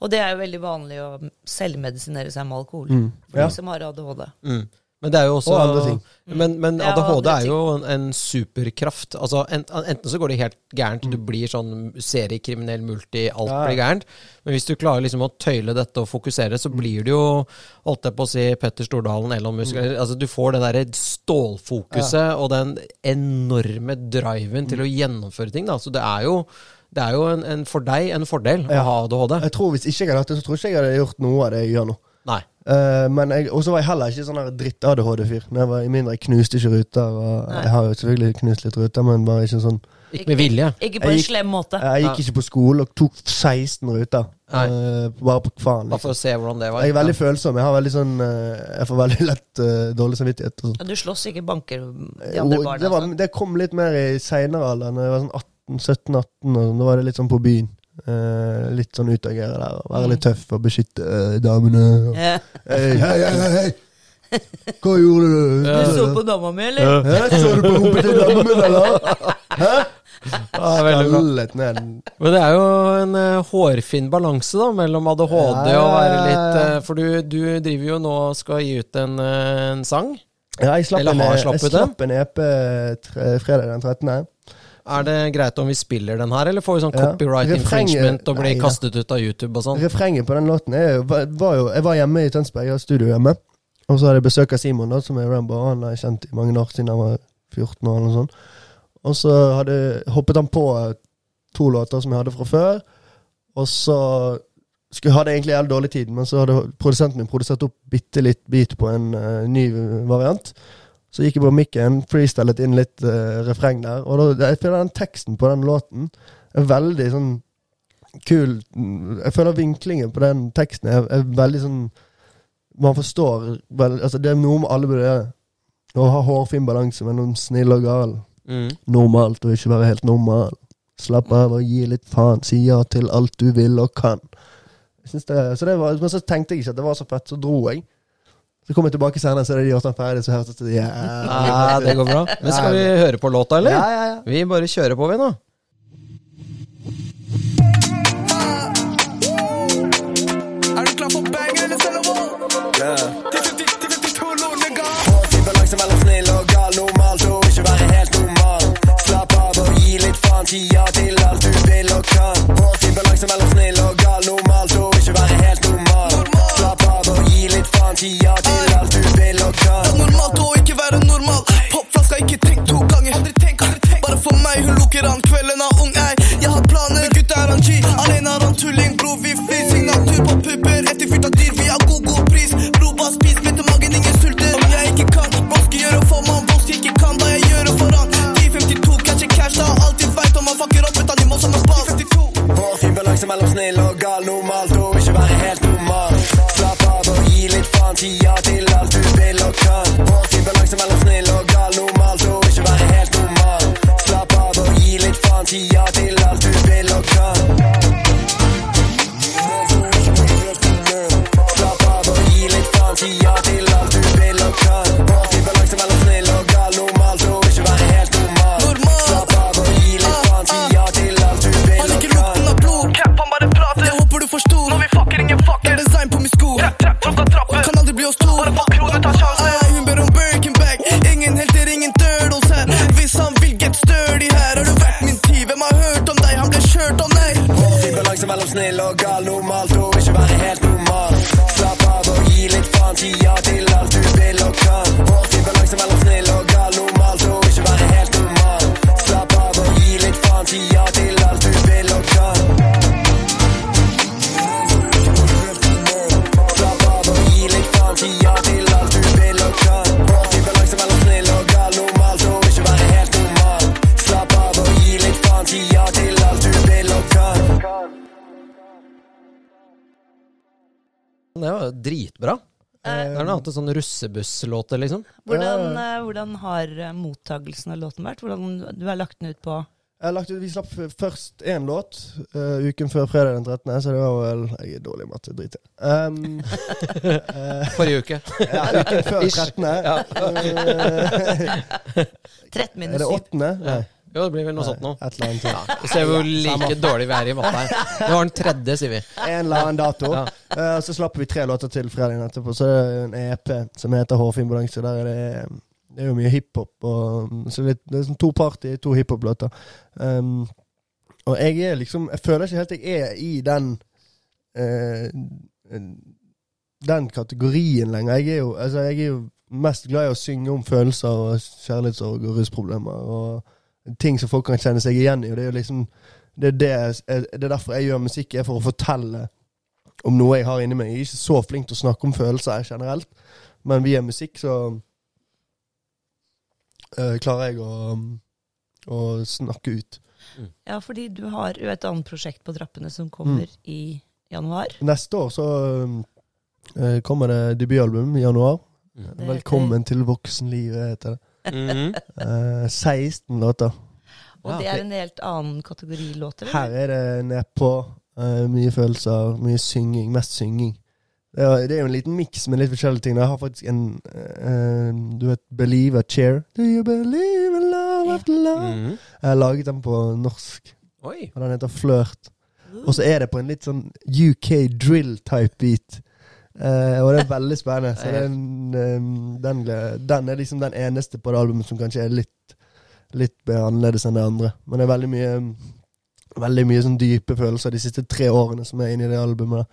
B: Og det er jo veldig vanlig å selvmedisinere seg med alkohol.
C: Mm.
B: For
C: Ja.
B: de som har ADHD.
A: Mm. Men det er jo også Mm.
C: Og andre ting.
A: Men, men
B: Ja,
A: ADHD
B: andre
A: er jo en, en superkraft. Altså, en, enten så går det helt gærent, du blir sånn seriekriminell multi, alt
C: Mm. Ja, ja.
A: blir gærent. Men hvis du klarer liksom å tøyle dette og fokusere, så blir du jo, holdt jeg på å si, Petter Stordalen, Elon Musk
C: Mm.
A: eller- Altså, du får det derre stålfokuset og den enorme driven
C: Mm.
A: til å gjennomføre ting, da. Så det er jo, det er jo en, en, for deg en fordel
C: Ja.
A: å ha ADHD.
C: Jeg tror Hvis ikke jeg hadde hatt det, så tror ikke jeg hadde gjort noe av det jeg gjør nå.
A: Nei.
C: Eh, men jeg, og så var jeg heller ikke sånn her dritt-ADHD-fyr. Når Jeg var i mindre, jeg knuste ikke ruter. Og
B: Nei.
C: jeg har jo selvfølgelig knust litt ruter, men bare ikke sånn
A: Ikke med vilje.
B: Ikke på en
C: Jeg gikk-
B: slem måte.
C: Jeg gikk ikke på skole og tok 16 ruter.
A: Nei.
C: Eh, bare på faen.
A: Bare for å se hvordan det var.
C: Jeg er veldig følsom. Jeg har veldig sånn eh, Jeg får veldig lett eh, dårlig samvittighet. Og sånn.
B: Ja, du slåss ikke banker de andre
C: Og
B: barna.
C: det, var,
B: altså.
C: det kom litt mer i seinere alder, når jeg var sånn 18-17-18. og sånn, Da var det litt sånn på byen. Eh, litt sånn utagere der. og Være litt tøff og beskytte eh, damene. og-
B: Ja.
C: Hei, hei, hei, hei! Hva gjorde du?
B: Du så på dama mi, eller?
C: Hæ, så du på rumpa til damen min, eller?
A: Ja, det er veldig bra.
C: Skallet ned.
A: Men det er jo en eh, hårfin balanse da, mellom ADHD
C: Ja,
A: og
C: ja,
A: være
C: ja,
A: litt
C: ja.
A: eh, For du, du driver jo nå og skal gi ut en, eh, en sang.
C: Ja, jeg slapp,
A: Eller
C: en, E
A: har
C: jeg
A: slappet det?
C: slapp en EP tre, fredag den 13.
A: Er det greit om vi spiller den her, eller får vi sånn
C: Ja.
A: copyright
C: Refrenget-
A: infringement og blir
C: Nei, ja.
A: kastet ut av YouTube og sånn?
C: Refrenget på den låten er jo, var, var jo Jeg var hjemme i Tønsberg, jeg har studio hjemme. Og så hadde jeg besøk av Simon, da, som er Rambo. Han har jeg kjent i mange år siden han var 14 år. eller noe sånt. Og så hadde, hoppet han på to låter som jeg hadde fra før. Og så skulle, hadde jeg egentlig jævlig dårlig tid, men så hadde produsenten min produsert opp bitte litt beat på en eh, ny variant. Så gikk jeg på mikken, freestylet inn litt eh, refreng der. Og da, jeg føler den teksten på den låten er veldig sånn kul Jeg føler vinklingen på den teksten er, er veldig sånn Man forstår vel, altså Det er noe med alle burde gjøre. Å ha hårfin balanse mellom snill og gal.
A: Mm.
C: Normalt og ikke være helt normal. Slapp av og gi litt faen. Si ja til alt du vil og kan. Jeg synes det, så det var, men så tenkte jeg ikke at det var så fett, så dro jeg. Så kom jeg tilbake senere, så er det de åtte ferdig, så hørtes det
A: Ja, det
C: jævlig
A: går bra. Men skal vi høre på låta,
C: Ja,
A: eller?
C: ja, ja.
A: Vi bare kjører på, vi, nå.
E: Er du klar for bang eller cello-wall?
F: Hårfin balanse mellom snill og gal normalt og ikke være helt normal. Slapp av og gi litt faen, si ja til alt du vil og kan. Hårfin balanse mellom snill og gal normalt og ikke være helt normal. Slapp av og gi litt faen, si ja til alt du vil og kan.
E: Normalt å ikke være normal. Popflaska, ikke tenk to ganger. Aldri tenk, aldri tenk. Bare for meg, hun lukker han kvelden av ung ei. Jeg har planer, men gutta er han G. Alene er han tulling, bro. Vi flyr signatur på pupper. Etterfylt av dyr, vi har god, god pris. Bro, bare spis, vet du magen, ingen sulter. Om jeg ikke kan, hva skal jeg gjøre for mann? Hva skal jeg ikke kan, da jeg gjør det for han? 1052, catcher cash, da han alltid veit om han fucker opp, vet han i mål som en spall. 1052.
F: Hårfin balanse mellom snill og gal normalt og ikke være helt normal. Slapp av og gi litt faen, si ja til alt du vil og kan. Hårfin balanse mellom snill og gal normalt og ikke være helt normal. Slapp av og gi litt faen, si ja til alt du vil og kan. Slapp av og gi litt faen, si ja til alt du vil og kan. Hårfin balanse mellom snill og gal normalt og ikke være helt normal.
E: Normal.
F: Slapp av og gi litt faen, si ja til alt du
E: Han
F: vil
E: liker
F: og kan.
E: lukten av blod. Cap, han bare prater. Jeg håper du forsto. Når vi fucker, ingen fucker. Design på min sko. Trapp, trapp, trapp, trapp. Kan aldri bli oss to. Bare få kroner, ta sjansen. Ei, hun ber om Birkenbag. Ingen helter, ingen turtles her. Hvis han vil get sturdy her, har du vært min tid. Hvem har hørt om deg? Han ble kjørt om, nei.
F: Fin balanse mellom snill og gal normalt og ikke være helt normal. Slapp av og gi litt faen, si ja til alt du vil og kan. Fin balanse mellom snill og gal normalt og ikke være helt normal. Slapp av og gi litt faen, si ja til alt du vil og kan. Slapp av og gi litt faen, si ja til alt du vil og kan. Fin balanse mellom snill og gal normalt og ikke være helt normal. Slapp av og gi litt faen, si ja til alt du vil og kan.
A: Det var jo dritbra. Det er noe annet enn sånn russebusslåter, liksom.
B: Hvordan, eh, hvordan har eh, mottagelsen av låten vært? Hvordan du har lagt den ut på
C: Jeg har lagt ut, vi slapp f- først én låt eh, uken før fredag den 13., så det var vel Jeg er dårlig i matte, drit i det. Um,
A: Forrige uke.
C: ja, uken før 13. Eh,
B: 13
C: er
B: minus
C: det
B: 7?
C: 8.? Nei.
A: Jo, det blir vel noe sånt nå.
C: Et eller annet. sånt.
A: Vi ser hvor like dårlig vi er i matte her. Det var den tredje, sier vi.
C: En eller annen dato.
A: Ja.
C: Eh, og så slapp vi tre låter til fredagen etterpå. Så er det en EP som heter Hårfin balanse. Der er det, det er jo mye hiphop. og- Så litt, det er sånn to party, to hiphop-låter. Um, og jeg er liksom Jeg føler ikke helt jeg er i den eh, Den kategorien lenger. Jeg er jo, altså, jeg er jo mest glad i å synge om følelser og kjærlighetssorg og rusproblemer. Og ting som folk kan kjenne seg igjen i. Og det er jo liksom det er, det, jeg- det er derfor jeg gjør musikk, er for å fortelle om noe jeg har inni meg. Jeg er ikke så flink til å snakke om følelser jeg, generelt, men via musikk så øh, klarer jeg å, å snakke ut.
B: Ja, fordi du har jo et annet prosjekt på trappene som kommer
C: Mm.
B: i januar.
C: Neste år så øh, kommer det debutalbum i januar.
B: Det heter-
C: Velkommen til voksenlivet, heter det. Eh, 16 låter.
B: Og
A: Ja,
B: det er
A: det-
B: en helt annen kategori låter.
C: Her er det nedpå. eh, mye følelser, mye synging. Mest synging. Det er, det er jo en liten miks med litt forskjellige ting. Jeg har faktisk en eh, eh, Du vet Believe a Cheer. Do you believe in love after love?
A: Mhm.
C: Jeg har laget den på norsk,
A: Oi.
C: og den heter Flørt. Og så er det på en litt sånn UK drill-type beat. Eh, og det er veldig spennende. Så den, eh, den, gle- den er liksom den eneste på det albumet som kanskje er litt Litt mer annerledes enn det andre. Men det er veldig mye Veldig mye sånn dype følelser de siste tre årene som er inni det albumet.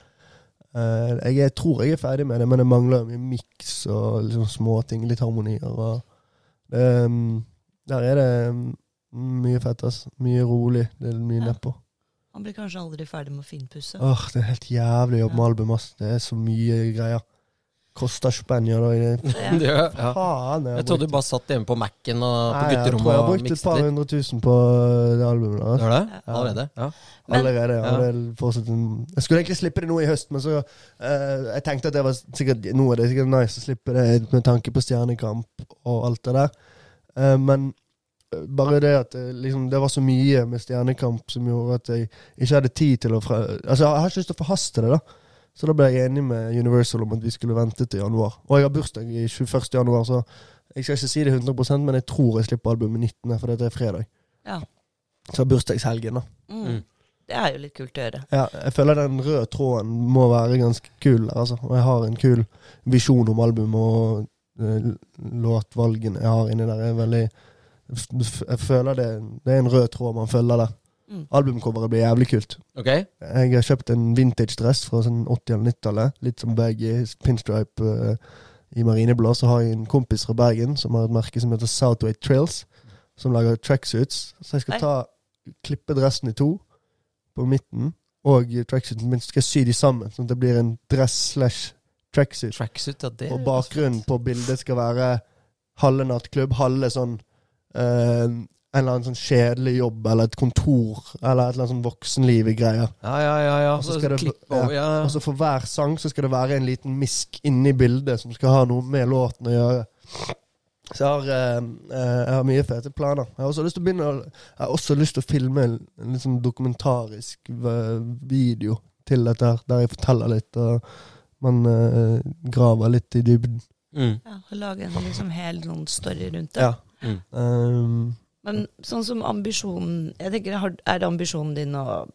C: Eh, jeg, er- tror jeg er ferdig med det, men det mangler mye miks og liksom småting. Litt harmonier og ehm, Der er det mm, mye fett, ass. Mye rolig. Det er mye
B: Ja.
C: nedpå.
B: Han blir kanskje aldri ferdig med å finpusse.
C: Åh, Det er helt jævlig jobb med album, ass. Det er så mye greier. Koster spenn, gjør det.
B: Ja.
A: Det, ja.
C: Faen,
A: Jeg trodde du bare satt hjemme på Mac-en og på
C: Nei, Jeg tror
A: gutterommet
C: jeg har
A: og
C: brukt et
A: mikset
C: par
A: litt.
C: hundre tusen på det albumet.
A: Du
C: Da.
A: har det?
C: Ja.
A: Allerede? Ja.
B: Men-
C: Allerede, ja.
A: Ja.
C: Det er fortsatt en- Jeg skulle egentlig slippe det nå i høst, men så eh, Jeg tenkte at det var sikkert nå er det sikkert nice å slippe det med tanke på Stjernekamp og alt det der. Eh, men eh, bare det at eh, liksom, det var så mye med Stjernekamp som gjorde at jeg ikke hadde tid til å fra, Altså, jeg har ikke lyst til å forhaste det, da. Så da ble jeg enig med Universal om at vi skulle vente til januar. Og jeg har bursdag i 21. januar, så jeg skal ikke si det 100 men jeg tror jeg slipper albumet 19., for dette er fredag.
B: Ja.
C: Så bursdagshelgen, da.
B: Mm. Det er jo litt kult å gjøre.
C: Ja, jeg føler den røde tråden må være ganske kul. Altså. Og jeg har en kul visjon om albumet, og eh, låtvalgene jeg har inni der, er veldig f- Jeg føler det, det er en rød tråd man følger der.
B: Mm.
C: Albumcoveret blir jævlig kult.
A: Ok.
C: Jeg har kjøpt en vintage-dress fra sånn 80- eller 90-tallet. Litt som baggy pinstripe eh, i marineblå. Så har jeg en kompis fra Bergen som har et merke som heter Southway Trails. Som lager tracksuits. Så
B: Oi.
C: jeg skal ta klippe dressen i to på midten, og tracksuiten min skal jeg sy de sammen. Sånn at det blir en dress slash tracksuit.
A: Tracksuit, ja, det
C: Og bakgrunnen på bildet skal være halve nattklubb, halve sånn eh, En eller annen sånn kjedelig jobb, eller et kontor, eller et eller annet sånn voksenliv-greier.
A: Ja, ja, ja. ja.
C: Og så
A: Så
C: skal det-
A: klipp
C: ja.
A: over. Ja.
C: Og så Altså, for hver sang så skal det være en liten misk inni bildet som skal ha noe med låten å gjøre. Så jeg har, eh, eh, jeg har mye fete planer. Jeg har også lyst til å begynne å, Jeg har også lyst til å filme en, en litt sånn dokumentarisk eh, video til dette, her, der jeg forteller litt. og man eh, graver litt i dybden.
A: Mm.
B: Ja, og lage en liksom hel noen story rundt det.
C: Ja.
A: Mm.
C: Um,
B: Men sånn som ambisjonen jeg tenker, har- Er det ambisjonen din å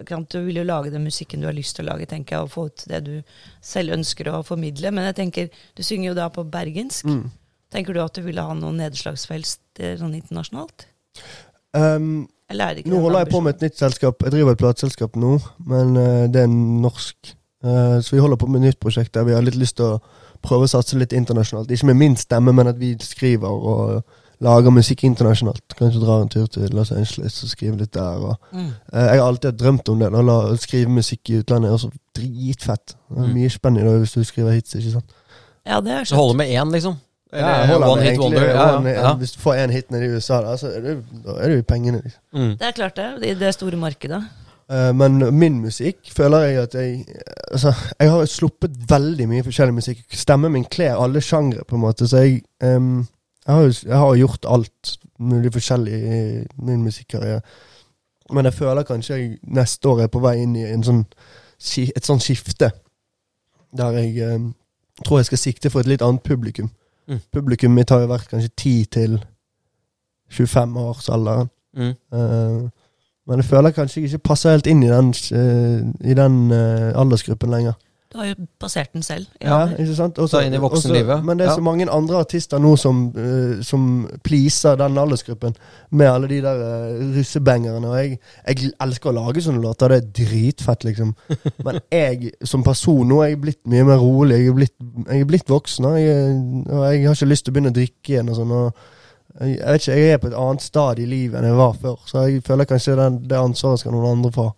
B: ikke sant, Du vil jo lage den musikken du har lyst til å lage, tenker jeg, og få ut det du selv ønsker å formidle. Men jeg tenker, du synger jo da på bergensk.
C: Mm.
B: Tenker du at du ville ha noen nedslagsfelt eh, sånn internasjonalt?
C: um,
B: Eller er det ikke
C: Nå
B: en
C: holder jeg på
B: ambisjon?
C: med et nytt selskap. Jeg driver et plateselskap nå, men eh, det er norsk. Eh, så vi holder på med et nytt prosjekt der vi har litt lyst til å prøve å satse litt internasjonalt. Ikke med min stemme, men at vi skriver og lager musikk internasjonalt. Kanskje dra en tur til Los Angeles og skrive litt der. Og,
B: Mm.
C: Eh, jeg har alltid drømt om det. da, la- Å skrive musikk i utlandet er også dritfett. Det er
A: Mm.
C: mye spennende da, hvis du skriver hits, ikke sant.
B: Ja, det er
A: Så holder med én, liksom?
C: jeg holder
A: one
C: med
A: hit
C: egentlig
A: wonder? Ja,
C: one-
A: ja.
C: Hvis du får én hit nede i USA, da, så er det, da er det jo pengene. Liksom.
A: Mm.
B: Det er klart det, i det store markedet.
C: Eh, Men min musikk føler jeg at jeg Altså, jeg har sluppet veldig mye forskjellig musikk. Stemmen min kler alle sjangre, på en måte, så jeg ehm, jeg, har, jo- jeg har gjort alt mulig forskjellig i min musikkarriere. Men jeg føler kanskje jeg neste år er på vei inn i en sånn, ski- et sånn skifte. Der jeg ehm, tror jeg skal sikte for et litt annet publikum.
A: Mm.
C: Publikum mitt har jo vært kanskje 10 til 25-årsalderen.
A: Mm.
C: Eh, men jeg føler kanskje jeg ikke passer helt inn i den, eh, i den eh, aldersgruppen lenger.
B: Du har jo passert den selv. i
C: Ja,
B: alder.
C: ikke sant? Også-
A: Ta inn i voksenlivet.
C: også- Men det er så
A: Ja.
C: mange andre artister nå som, eh, som pleaser den aldersgruppen med alle de der eh, russebangerne. Og jeg, jeg elsker å lage sånne låter, det er dritfett, liksom. Men jeg som person nå er jeg blitt mye mer rolig. Jeg er blitt, jeg er blitt voksen, og jeg, er- og jeg har ikke lyst til å begynne å drikke igjen. og sånn, og jeg, jeg vet ikke, jeg er på et annet stad i livet enn jeg var før, så jeg føler kanskje den, det ansvaret skal noen andre få.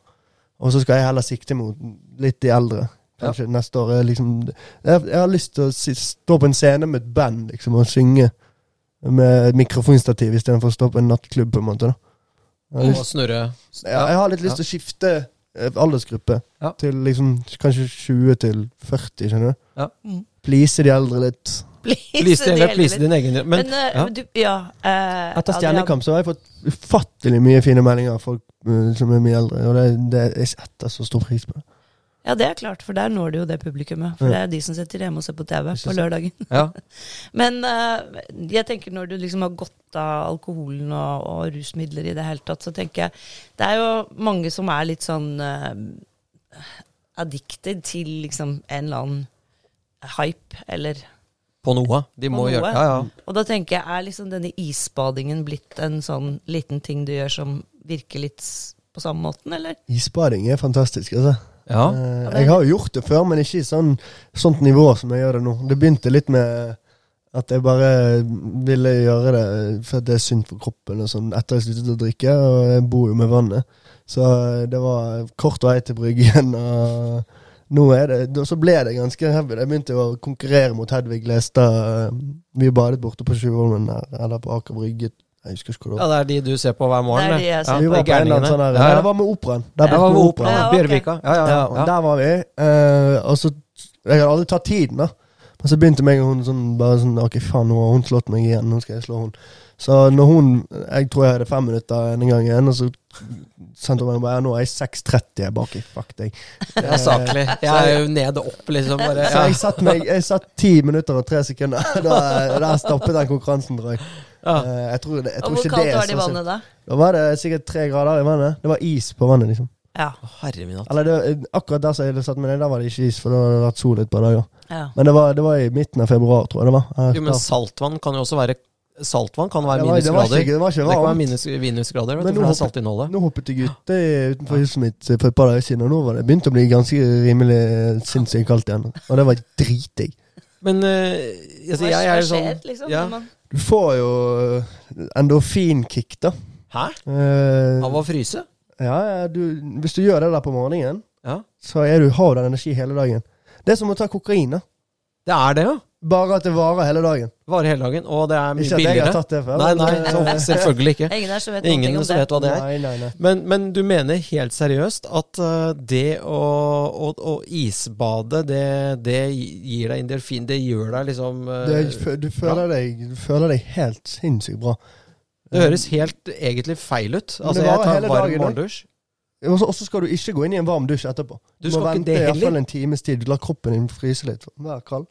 C: Og så skal jeg heller sikte mot litt de eldre. Kanskje neste år er liksom jeg, jeg har lyst til å si, stå på en scene med et band liksom, og synge med mikrofonstativ istedenfor å stå på en nattklubb. på en måte da. Jeg har,
A: Og
C: lyst,
A: snurre.
C: jeg, jeg har litt lyst til å skifte eh, aldersgruppe
A: Ja.
C: til liksom kanskje 20 til 40, skjønner du.
A: Ja.
B: Mm.
C: Please de eldre litt.
A: Please,
B: det
A: din-
B: gjelder
A: please
B: litt.
A: din egen Men,
B: Men, eh,
A: ja.
B: du, ja eh,
C: Etter
B: Adrian,
C: Stjernekamp så har jeg fått ufattelig mye fine meldinger av folk eh, som er mye eldre, og det, det, jeg setter så stor pris på det.
B: Ja, det er klart, for der når du jo det publikummet. For det er de som sitter hjemme og ser på TV på lørdagen.
A: Ja.
B: Men eh, jeg tenker når du liksom har gått av alkoholen og, og rusmidler i det hele tatt, så tenker jeg Det er jo mange som er litt sånn eh, addicted til liksom en eller annen hype, eller
A: På noe. De må
B: noe.
A: gjøre Ja, ja.
B: Og da tenker jeg, er liksom denne isbadingen blitt en sånn liten ting du gjør som virker litt s- på samme måten, eller?
C: Isbading er fantastisk, altså.
A: Ja.
C: Eh, Jeg har jo gjort det før, men ikke i sånn, sånt nivå som jeg gjør det nå. Det begynte litt med at jeg bare ville gjøre det for at det er synd for kroppen og sånn, etter jeg sluttet å drikke, og jeg bor jo med vannet. Så eh, det var kort vei til bryggen, og nå er det, da- så ble det ganske heavy. Jeg begynte jo å konkurrere mot Hedvig Lestad. eh, Vi badet borte på Sjuvholmen der, eller på Aker Brygge. Jeg husker ikke hvor det
A: ja,
C: var.
A: det er de du ser på hver morgen.
B: Det er de jeg ser
A: ja,
C: Vi var på en eller annen
A: gærningene.
C: sånn her,
A: Ja,
C: Nei,
A: ja.
C: det var med operaen. Der
A: Jeg
C: borte
A: var
C: med
A: ved Operaen.
C: operaen.
B: Ja, ok.
A: Bjørvika. Ja, ja,
C: Ja,
A: ja.
C: og Der var vi. eh, og så Jeg hadde aldri tatt tiden, da. Men så begynte meg og hun sånn, bare sånn OK, faen, nå har hun slått meg igjen. Nå skal jeg slå hun. Så når hun Jeg tror jeg hadde fem minutter en gang igjen, og så sendte hun meg bare ja, Nå er jeg 6.30 jeg er baki. Fuck deg.
A: Det er saklig. Jeg er jo ned og opp, liksom. Bare,
C: Så
A: ja.
C: jeg satt meg Jeg satt ti minutter og tre sekunder. Da, der stoppet den konkurransen, tror jeg.
A: Ja.
C: Eh, jeg tror, det, jeg
B: Og
C: tror
B: hvor
C: ikke det
B: kaldt
C: er
B: var det i
C: så synd.
B: vannet da?
C: Da var det sikkert tre grader i vannet. Det var is på vannet, liksom.
B: Ja.
A: Herre min hatt.
C: Eller det, akkurat der som jeg hadde satt meg ned, der var det ikke is, for da hadde det vært sol et par dager.
B: ja.
C: Men det var, det var i midten av februar, tror jeg det var. Eh,
A: Jo, men
C: da.
A: saltvann kan jo også være Saltvann kan være
C: Det var- det var
A: minusgrader.
C: ikke- det var ikke
A: kan være
C: varmt.
A: minus, minusgrader, vet du, for det
C: Men nå
A: er
C: hoppet-
A: saltinnholdet.
C: Nå hoppet jeg ut eh, utenfor huset mitt for et par dager siden, og nå var det begynt å bli ganske rimelig eh, sinnssykt kaldt igjen. Og det var dritdigg.
A: Men eh, altså, jeg,
B: Hva,
A: jeg
B: hva
A: er sånn
B: skjer, liksom?
A: ja.
B: når man-
C: Du får jo eh, endorfinkick, da.
A: Hæ?
C: Eh,
A: Av å fryse?
C: ja, ja, du, hvis du gjør det der på morgenen,
A: Ja.
C: så er du, har du den energi hele dagen. Det er som å ta kokain, da.
A: Det er det, ja.
C: Bare at det varer hele dagen.
A: Varer hele dagen. Og det er mye
C: Ikke at jeg har
A: billigere.
C: tatt det før.
A: Nei,
C: men,
A: nei,
C: eh,
A: så, selvfølgelig ikke.
B: Ingen her som vet noe
A: Ingen
B: om
A: som
B: det.
A: vet hva det er.
C: Nei, nei, nei.
A: Men, men du mener helt seriøst at eh, det å, å, å isbade, det, det gir deg endorfin, det gjør deg liksom eh,
C: Du, du, føler deg, du føler deg helt sinnssykt bra.
A: Det høres helt egentlig feil ut.
C: Men
A: Altså,
C: det
A: jeg
C: varer
A: tar
C: hele
A: varm
C: dagen, da.
A: morgendusj.
C: Og så og så skal du ikke gå inn i en varm dusj etterpå.
A: Du
C: må
A: skal ikke
C: vente
A: det
C: i hvert
A: heller.
C: fall en times tid. Du lar kroppen din fryse litt. Vær kald.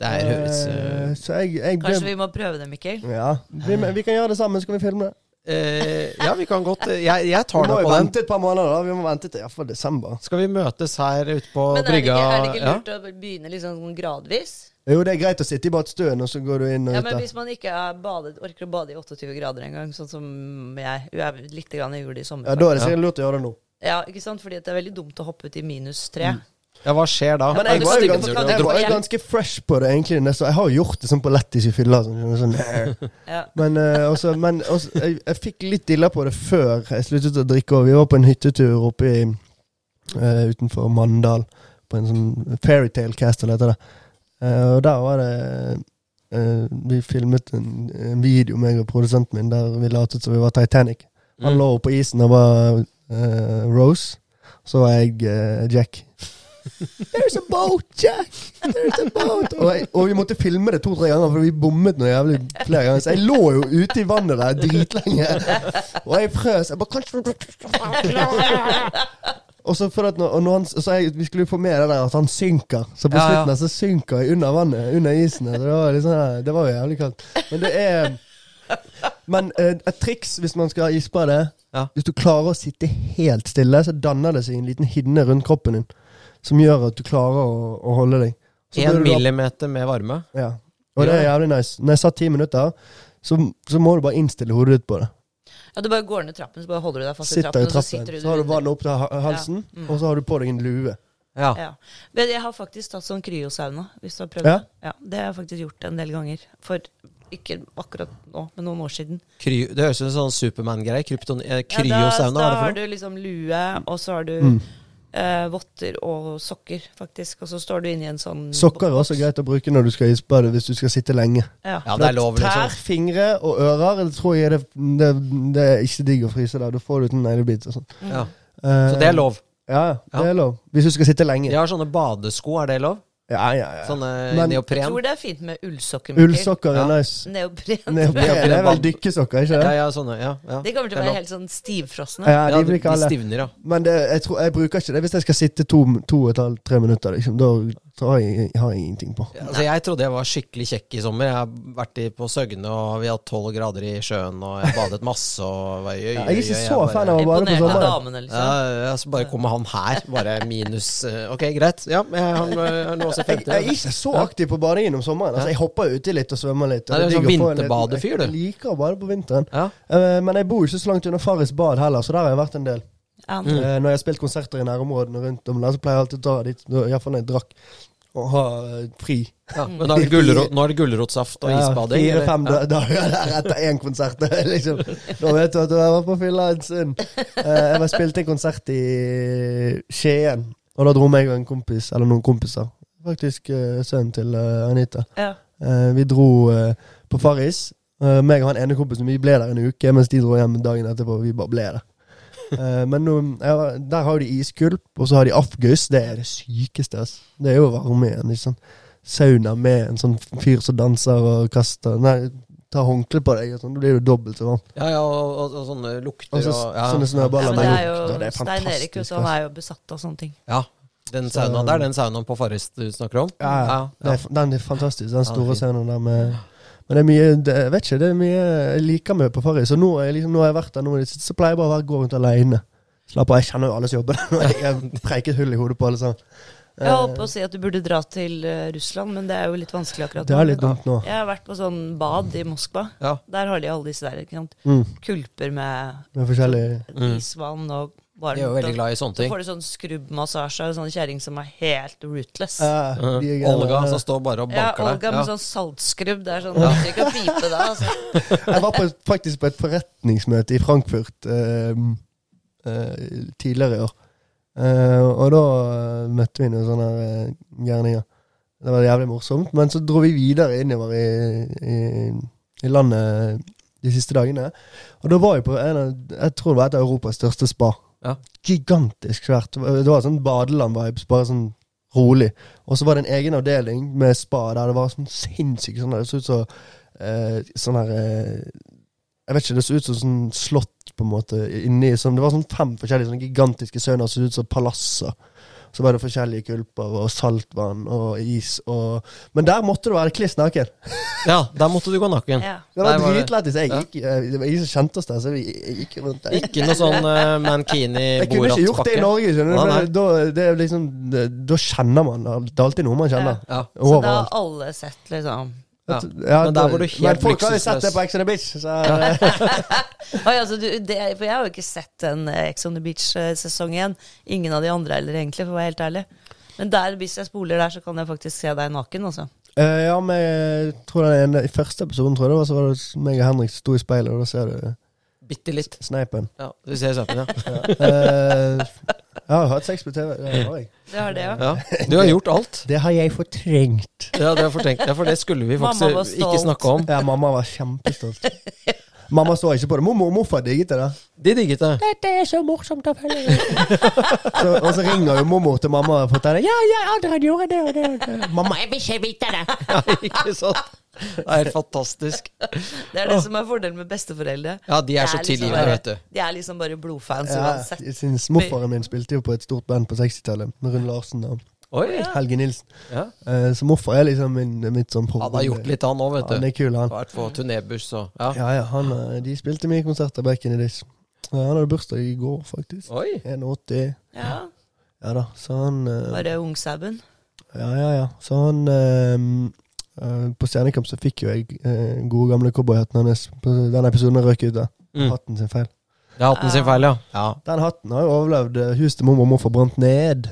A: Det her høres
C: Eh,
A: eh,
C: så jeg, jeg
B: Kanskje vi må prøve det, Mikkel?
C: Ja, vi, men vi kan gjøre det sammen, så kan vi filme det.
A: eh, Ja, vi kan godt eh, Jeg, jeg
C: Vi
A: tar
C: må
A: deg
C: jo
A: på den.
C: vente et par måneder, da. Vi må vente til iallfall desember.
A: Skal vi møtes her ute på
B: Men er det,
A: brygga?
B: ikke, er det ikke
A: Ja.
B: lurt å begynne liksom gradvis?
C: Jo, det er greit å sitte i badstuen, og så går du inn og
B: Ja,
C: ut
B: men
C: der.
B: Hvis man ikke har badet, orker å bade i 28 grader en gang, sånn som jeg, jeg litt grann jeg gjorde det i sommer.
C: Ja, da er det sikkert lurt å gjøre det nå.
B: Ja, ikke sant? Fordi at det er veldig dumt å hoppe ut i minus tre.
C: Mm.
A: Ja, hva skjer da?
C: Men
B: Ja,
C: jeg
B: du
C: var jo
B: stivner
C: ganske,
B: jo.
C: jeg var jo ganske fresh på det, egentlig. nesten. Jeg har jo gjort det sånn på lættis i fylla. Sånn, skjønner du, sånn,
B: Ja.
C: Men, eh, også, men også, jeg, jeg fikk litt dilla på det før jeg sluttet å drikke. Og vi var på en hyttetur oppe i, eh, utenfor Mandal, på en sånn Fairytale Castle heter det. Eh, og der var det eh, Vi filmet en, en video, meg og produsenten min, der vi latet som vi var Titanic. Han
A: Mm.
C: lå på isen og var eh, Rose. Så var jeg eh, Jack. There's a boat, Jack! There's a boat! Og, jeg, og vi måtte filme det to-tre ganger, for vi bommet noe jævlig flere ganger. Så jeg lå jo ute i vannet der dritlenge, og jeg frøs. Jeg bare «Kanskje-» Og så for at når, og når han, så jeg, Vi skulle jo få med det der at han synker. Så på
A: Ja, ja.
C: slutten her så synker jeg under vannet, under isen. her. Så det, var litt sånn her- det var jo jævlig kaldt. Men det er Men eh, et triks hvis man skal isbade
A: Ja.
C: Hvis du klarer å sitte helt stille, så danner det seg en liten hinne rundt kroppen din som gjør at du klarer å, å holde deg. Så
A: En
C: burde du ha-
A: millimeter med varme.
C: ja. Og det er jævlig nice. Når jeg satt ti minutter, så, så må du bare innstille hodet ditt på det.
B: ja, du bare går ned trappen, så bare holder du deg fast i
C: Sitter
B: trappen,
C: i
B: og så
C: trappen,
B: sitter du
C: så har du
B: under.
C: vann opp til ha- halsen,
B: Ja. Mm.
C: og så har du på deg en lue.
A: Ja.
B: Ja. Men jeg har faktisk tatt sånn kryosauna, hvis du har prøvd
C: Ja.
B: det. Ja, det har jeg faktisk gjort en del ganger. For ikke akkurat nå, men noen år siden.
A: Kry, det høres ut som en sånn Supermann-greie. Krypton- eh,
B: Ja, da-
A: Kryosauna,
B: da
A: hva
B: har
A: er det for noe?
B: du liksom lue, og så har du
C: Mm.
B: eh, votter og sokker, faktisk. Og så står du inni en sånn
C: Sokker er også greit å bruke når du skal isbade, hvis du skal sitte lenge.
B: Ja.
A: Ja, det er lov,
C: Tær,
A: liksom.
C: fingre og ører, det tror jeg det, det, det er ikke digg å fryse der. Da får du ut en neglebit og Eh, sånn.
A: Ja. Så det er lov.
C: Ja, det er lov. Hvis du skal sitte lenge.
A: Jeg har sånne badesko, er det lov?
C: Ja, ja, ja.
B: Sånn.
A: Sånne
C: Men-
B: Jeg
A: neopren.
B: tror det er fint med ullsokker. Mikkel.
C: Ullsokker er
A: Ja.
C: nice.
B: Neopren.
C: Neopren det er vel dykkesokker, ikke
A: Ja,
C: det?
A: ja, sånne. Ja, ja.
B: De kommer
A: Det
B: til å
A: er
B: være
A: lov.
B: helt sånn stivfrosne.
C: Ja,
A: Ja,
C: de blir ikke alle.
A: stivner, ja.
C: Men det, jeg, tror, jeg bruker ikke det hvis jeg skal sitte to, to og et halvt, tre minutter. Liksom, da tar jeg, har jeg ingenting på.
A: Altså, jeg trodde jeg var skikkelig kjekk i sommer. Jeg har vært i, på Søgne, og vi har hatt tolv grader i sjøen, og jeg badet masse. Og var,
C: Jeg er ikke så fan av å bade på sånn
B: Imponert av
C: sommeren.
B: damene,
A: ja,
B: liksom.
A: ja, så bare kommer han her, bare minus eh, Ok, greit. Ja, men jeg eh, har jeg har noe å se frem
C: Jeg, jeg er
A: til.
C: ikke så aktiv på badingen om sommeren. Altså, jeg hopper uti litt og svømmer litt. Og
A: Ja, du er
C: er
A: sånn
C: digg å få en liten-
A: vinterbadefyr, du.
C: Jeg liker å bade på vinteren.
A: Ja.
C: Eh, men jeg bor jo ikke så langt unna Farris bad heller, så der har jeg vært en del.
B: Ja.
C: Eh, når jeg har spilt konserter i nærområdene rundt om, der, så pleier jeg alltid å dra dit, iallfall når jeg drakk, og ha eh, fri.
A: Ja, men da er det gulrot- nå er det gulrotsaft og isbading. eller?
C: Fire-fem dager der etter én konsert. liksom. Da vet du at du har vært på fylla en stund. Eh, jeg var spilte en konsert i Skien, og da dro meg og en kompis, eller noen kompiser, faktisk eh, sønnen til eh, Anita.
B: Ja.
C: Eh, vi dro eh, på Farris. Eh, meg og han ene kompisen vi ble der en uke, mens de dro hjem dagen etterpå. Vi bare ble der. Eh, men nå, jeg var- der har de iskulp, og så har de afgøys. Det er det sykeste. ass. Det er jo varme i en liksom. sauna med en sånn fyr som danser og kaster Nei, tar håndkle på deg, og sånn. Da blir du dobbelt så varm.
A: Ja, ja, og, og, og sånne lukter
C: Og så
A: og ja.
C: sånne
B: Ja,
C: snøballer
B: men det er
C: med lukt, og det
B: jo
C: er
B: Stein Erik
C: fantastisk,
B: også, han er jo besatt av sånne ting.
A: ja. Den saunaen der, den saunaen på Farris du snakker om?
C: Ja, ja. Det
A: ja.
C: er, f- den er fantastisk, den store
A: fin.
C: scenen der med Men det er mye det, jeg vet ikke, det er mye jeg liker med på Farris. Og nå, er jeg liksom, nå har jeg vært der nå i det siste, så pleier jeg bare å være- gå rundt alene. Slapp av, jeg kjenner jo alle som jobber der. nå. Jeg har preiket hull i hodet på alle sammen.
B: Jeg holdt på å si at du burde dra til eh, Russland, men det er jo litt vanskelig akkurat
C: Det er litt dumt nå.
B: Jeg har vært på sånn bad i Moskva.
A: Ja.
B: Der har de alle disse der, ikke sant.
C: Mm,
B: Kulper med
C: med forskjellige
B: isvann og varmt.
A: Jeg Mm. er jo veldig
B: og-
A: glad i sånne
B: Så
A: ting.
B: får du sånn skrubbmassasje av en sånn kjerring som er helt rootless.
C: Ja, altså. de greiene
A: Mhm. Olga
C: der.
A: som står bare og
B: ja,
A: banker
B: Olga
A: deg.
B: med
A: Ja.
B: sånn saltskrubb. Det er sånn at du ikke kan pipe deg. Altså.
C: Jeg var på, et- faktisk på et forretningsmøte i Frankfurt eh, eh, tidligere i år. Eh, og da eh, møtte vi noen sånne eh, gjerninger. Det var jævlig morsomt. Men så dro vi videre innover i, i, i landet eh, de siste dagene. Og da var jeg på en av Jeg tror det var et av Europas største spa.
A: Ja.
C: Gigantisk svært. Det var sånn badeland-vibes. Bare sånn rolig. Og så var det en egen avdeling med spa der det var sånn sinnssykt sånn der, Det så ut som eh, sånn her eh, Jeg vet ikke, det så ut som sånn slott, på en måte, inni som Det var sånn fem forskjellige sånne gigantiske sønner som så ut som palasser. Så var det forskjellige kulper og saltvann og is og Men der måtte du være kliss naken!
A: ja, der måtte du gå naken.
B: Ja.
C: Det var
A: Der var det-
C: dritlættis. Jeg
A: Ja.
C: gikk eh, Det var ingen som kjente oss der, så vi jeg gikk rundt der.
A: Ikke noe sånn eh, mankini
C: Jeg kunne ikke gjort det i
A: borat-pakke.
C: Norge, skjønner du.
A: Nei,
C: for
A: nei.
C: Da, det er liksom, det, da kjenner man Det er alltid noe man kjenner.
A: Ja.
B: Så da har
C: Overalt.
B: alle sett, liksom.
A: Ja.
C: At- ja,
A: Men der var du helt
C: Men folk har jo sett det på
A: luksusløs.
C: Ex on the Beach. Så, eh,
B: Oi, altså, du, det, for jeg har jo ikke sett den eh, Ex on the Beach-sesong igjen. Ingen av de andre heller, egentlig, for å være helt ærlig. Men der, hvis jeg spoler der, så kan jeg faktisk se deg naken, altså.
C: eh, ja, men jeg tror den ene, I første episoden tror jeg det var, så var det meg og Henrik som sto i speilet, og da ser du
A: Bitte litt.
C: sneipen.
A: Ja, du ser søpen, ja.
C: Eh, jeg har jo hatt sex på TV. Det har jeg.
B: Det har det, ja.
A: ja. Du har gjort alt.
C: Det har jeg fortrengt.
A: Ja, det har jeg fortenkt. Ja, for det skulle vi
B: Mamma var
A: faktisk
B: stolt.
A: ikke snakke om.
C: Ja, mamma var kjempestolt. Mamma så ikke på det. Mormor og morfar digget det. da
A: De digget det.
D: Dette er så morsomt å følge.
C: så, Og så ringer jo mormor til mamma og forteller Ja,
D: ja, Adrian gjorde det og det og det. Mamma, jeg vil ikke vite det.
A: Ja, ikke sant? Det er helt fantastisk.
B: Det er det som er fordelen med besteforeldre.
A: Ja, de er så tilgivende,
B: bare-
A: vet du.
B: De er liksom bare blodfans
C: ja
B: uansett.
C: jeg synes morfaren min spilte jo på et stort band på 60-tallet. Med Rune Larsen og
A: Oi.
C: Helge Nilsen.
A: Ja.
C: Eh, Så morfar er liksom min, mitt sånn
A: Han har gjort litt, han òg, vet du.
C: Han er kul, han.
A: Vært på turnébuss og ja.
C: Ja, ja, han, eh, de spilte mye konserter back in the days. Ja, Han hadde bursdag i går, faktisk.
A: Oi.
C: 81.
B: Ja,
C: Ja da, så han eh,
B: Bare ungsauben.
C: Ja, ja, ja. Så han eh, eh, På Stjernekamp så fikk jo jeg eh, gode gamle cowboyhatten hans. På den episoden han røk ut av.
A: Mm.
C: Hatten sin feil.
A: Det er hatten sin feil, ja. ja.
C: Den hatten har jo overlevd eh, huset til mormor og morfar brant ned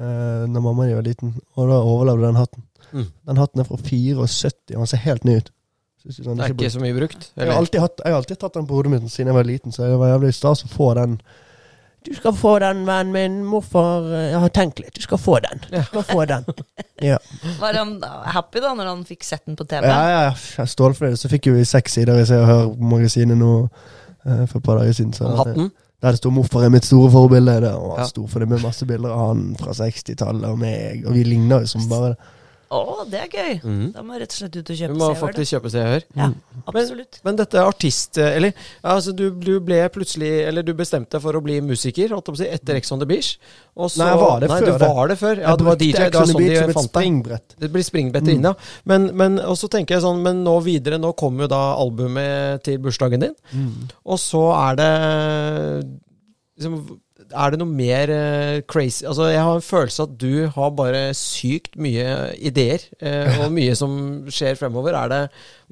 C: uh, Når mamma og jeg var liten. Og da overlevde den hatten.
A: Mm.
C: Den hatten er fra 74, og han ser helt ny ut. Synes du den
A: Det
C: ikke
A: er
C: blir-
A: ikke så mye brukt.
C: Jeg har,
A: Eller?
C: alltid hatt, jeg har alltid tatt den på hodet mitt siden jeg var liten, så det var jævlig stas å få den.
D: Du skal få den, vennen min. Morfar eh, Jeg har tenkt litt. Du skal få den. Du skal få den.
B: Var han da happy da når han fikk sett den på TV?
C: Ja, ja, ja, jeg er stålfornøyd. Så fikk jo vi seks sider i Se og Hør-magasinet nå eh, for et par dager siden. Så
A: Om hatten?
C: Der det sto 'Morfar er mitt store forbilde'. Det var
A: Ja.
C: stor for det med masse bilder av han fra 60-tallet og meg, og vi ligner jo som bare det.
B: Å, det er gøy!
A: Mhm.
B: Da må jeg rett og slett ut og
A: Du
B: kjøpe
A: må
B: seer, da.
A: faktisk kjøpe Se og Hør.
B: Ja, absolutt.
A: Men dette er artist... Eller ja, altså, du, du ble plutselig Eller du bestemte deg for å bli musiker holdt jeg på å si, etter Ex on the Beach. Og så,
C: Nei, jeg var det
A: nei,
C: før
A: du
C: det.
A: var det før. Ja,
C: Jeg
A: du var
C: brukte
A: DJ. Det
C: Ex on
A: var
C: the
A: sånn
C: Beach som
A: de
C: et
A: fant deg.
C: springbrett.
A: Det blir springbett inn, ja. Men, men og så tenker jeg sånn, men nå videre, nå kommer jo da albumet til bursdagen din. Og så er det liksom, Er det noe mer eh, crazy Altså, jeg har en følelse at du har bare sykt mye ideer, eh, og mye som skjer fremover. Er det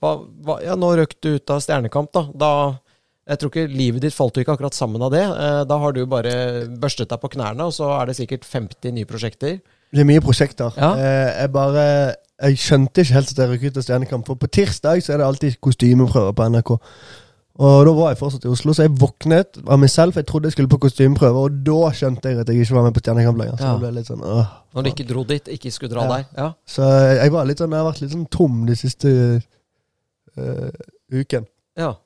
A: hva, hva, Ja, nå røk du ut av Stjernekamp, da. da jeg tror ikke Livet ditt falt jo ikke akkurat sammen av det. Eh, Da har du bare børstet deg på knærne, og så er det sikkert 50 nye prosjekter.
C: Det er mye prosjekter.
A: Ja.
C: Eh, jeg bare Jeg skjønte ikke helt at jeg røk ut av Stjernekamp. For på tirsdag så er det alltid kostymeprøver på NRK. Og da var jeg fortsatt i Oslo, så jeg våknet av meg selv, for jeg trodde jeg skulle på kostymeprøver, og da skjønte jeg at jeg ikke var med på Stjernekamp lenger. Så
A: Ja.
C: jeg ble litt sånn åh.
A: Når du ikke dro dit, ikke skulle dra
C: Ja.
A: der. Ja.
C: Så jeg var litt sånn Jeg har vært litt sånn tom de siste eh, uken.
A: Ja.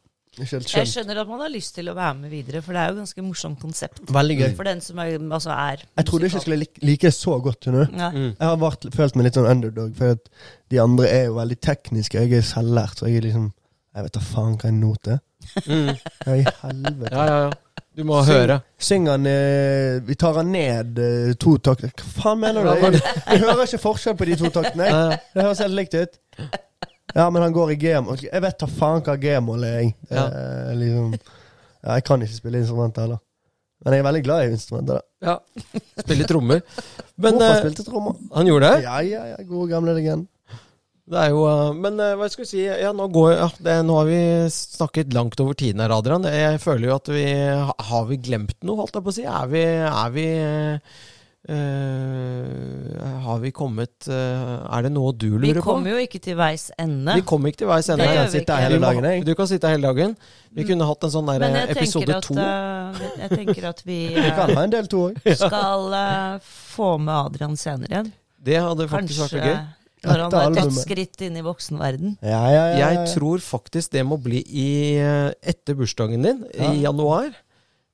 C: Ikke helt
B: Jeg
C: skjønt.
B: skjønner at man har lyst til å være med videre, for det er jo ganske morsomt konsept.
C: Veldig gøy.
B: For den som er, altså er
C: Jeg trodde ikke jeg skulle like, like så godt til nå.
B: musikal. Nei.
A: Mm.
C: Jeg har vært, følt meg litt sånn underdog, for at de andre er jo veldig tekniske. Jeg er selvlært, så jeg er liksom Jeg vet da faen hva en not er.
A: Mm.
C: Ja, i helvete.
A: Ja, ja, ja. Du må
C: Syng.
A: høre.
C: Syng han eh, Vi tar han ned eh, to takter. Hva faen mener du? Jeg, jeg hører ikke forskjell på de to taktene. jeg.
A: Ja,
C: Det høres helt likt ut. Ja, men han går i G-mål. Jeg vet da faen hva G-mål er, jeg. Det
A: Ja.
C: er liksom, ja, jeg kan ikke spille instrumenter heller. Men jeg er veldig glad i instrumenter. da.
A: ja. Spille trommer. Men
C: Hvorfor
A: eh,
C: spilte trommer?
A: han gjorde det?
C: Ja, ja, ja, gode gamle legend.
A: Det er jo eh, Men eh, hva skal vi si Ja, nå går ja, det, Nå har vi snakket langt over tiden her, Adrian. Jeg føler jo at vi Har vi glemt noe, holdt jeg på å si? Er vi, er vi eh, eh, har vi kommet eh, Er det noe du
B: Vi
A: lurer på?
B: kommer jo ikke til veis ende.
A: Vi kommer ikke til veis ende.
B: Det gjør
A: Jeg
B: vi
A: sitter
B: ikke. Mm.
A: hele
C: Vi må-
A: dagen, jeg. Du kan sitte her hele dagen. Vi kunne hatt en sånn der
B: Men
A: eh,
B: jeg tenker
A: episode
B: at,
A: to.
B: eh, jeg tenker at vi
C: Vi
B: eh,
C: kan ha en del to òg.
B: skal eh, få med Adrian senere igjen.
A: Det hadde faktisk vært
B: Kanskje
A: litt gøy.
B: når han
C: Etter
B: har tatt
C: albumet.
B: skritt inn i voksenverden.
C: Ja, ja, ja, ja.
A: Jeg tror faktisk det må bli i, eh, etter bursdagen din,
C: Ja.
A: i januar.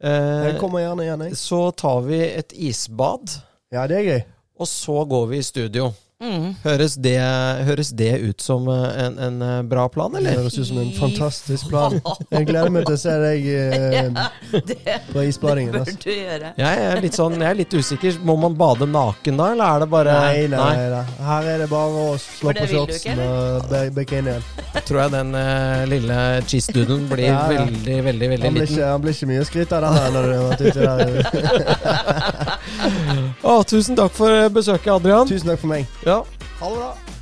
C: Jeg
A: Eh,
C: kommer gjerne igjen, jeg.
A: så tar vi et isbad,
C: Ja, det er gøy.
A: og så går vi i studio.
B: Mm.
A: Høres det, høres det ut som eh, en, en eh, bra plan,
C: Det
A: eller?
C: høres ut som en fantastisk plan. Jeg gleder meg til å se deg eh,
B: Det
C: på isbadingen.
B: bør
C: Altså.
B: du gjøre.
A: Jeg er litt sånn, jeg er litt usikker. Må man bade naken da, eller er det bare
C: Nei, nei, nei. Her er det bare å slå
B: For det
C: på
B: vil du ikke,
C: shortsen og be- bekke inn igjen.
A: Tror jeg den eh, lille cheese-duden blir
C: Ja, ja.
A: veldig, veldig, veldig
C: Han blir
A: liten.
C: ikke, han blir ikke mye å skryte av den her når du har vært ute der.
A: Å, tusen takk for eh, besøket, Adrian.
C: Tusen takk for meg.
A: Ja.
C: Ha det bra.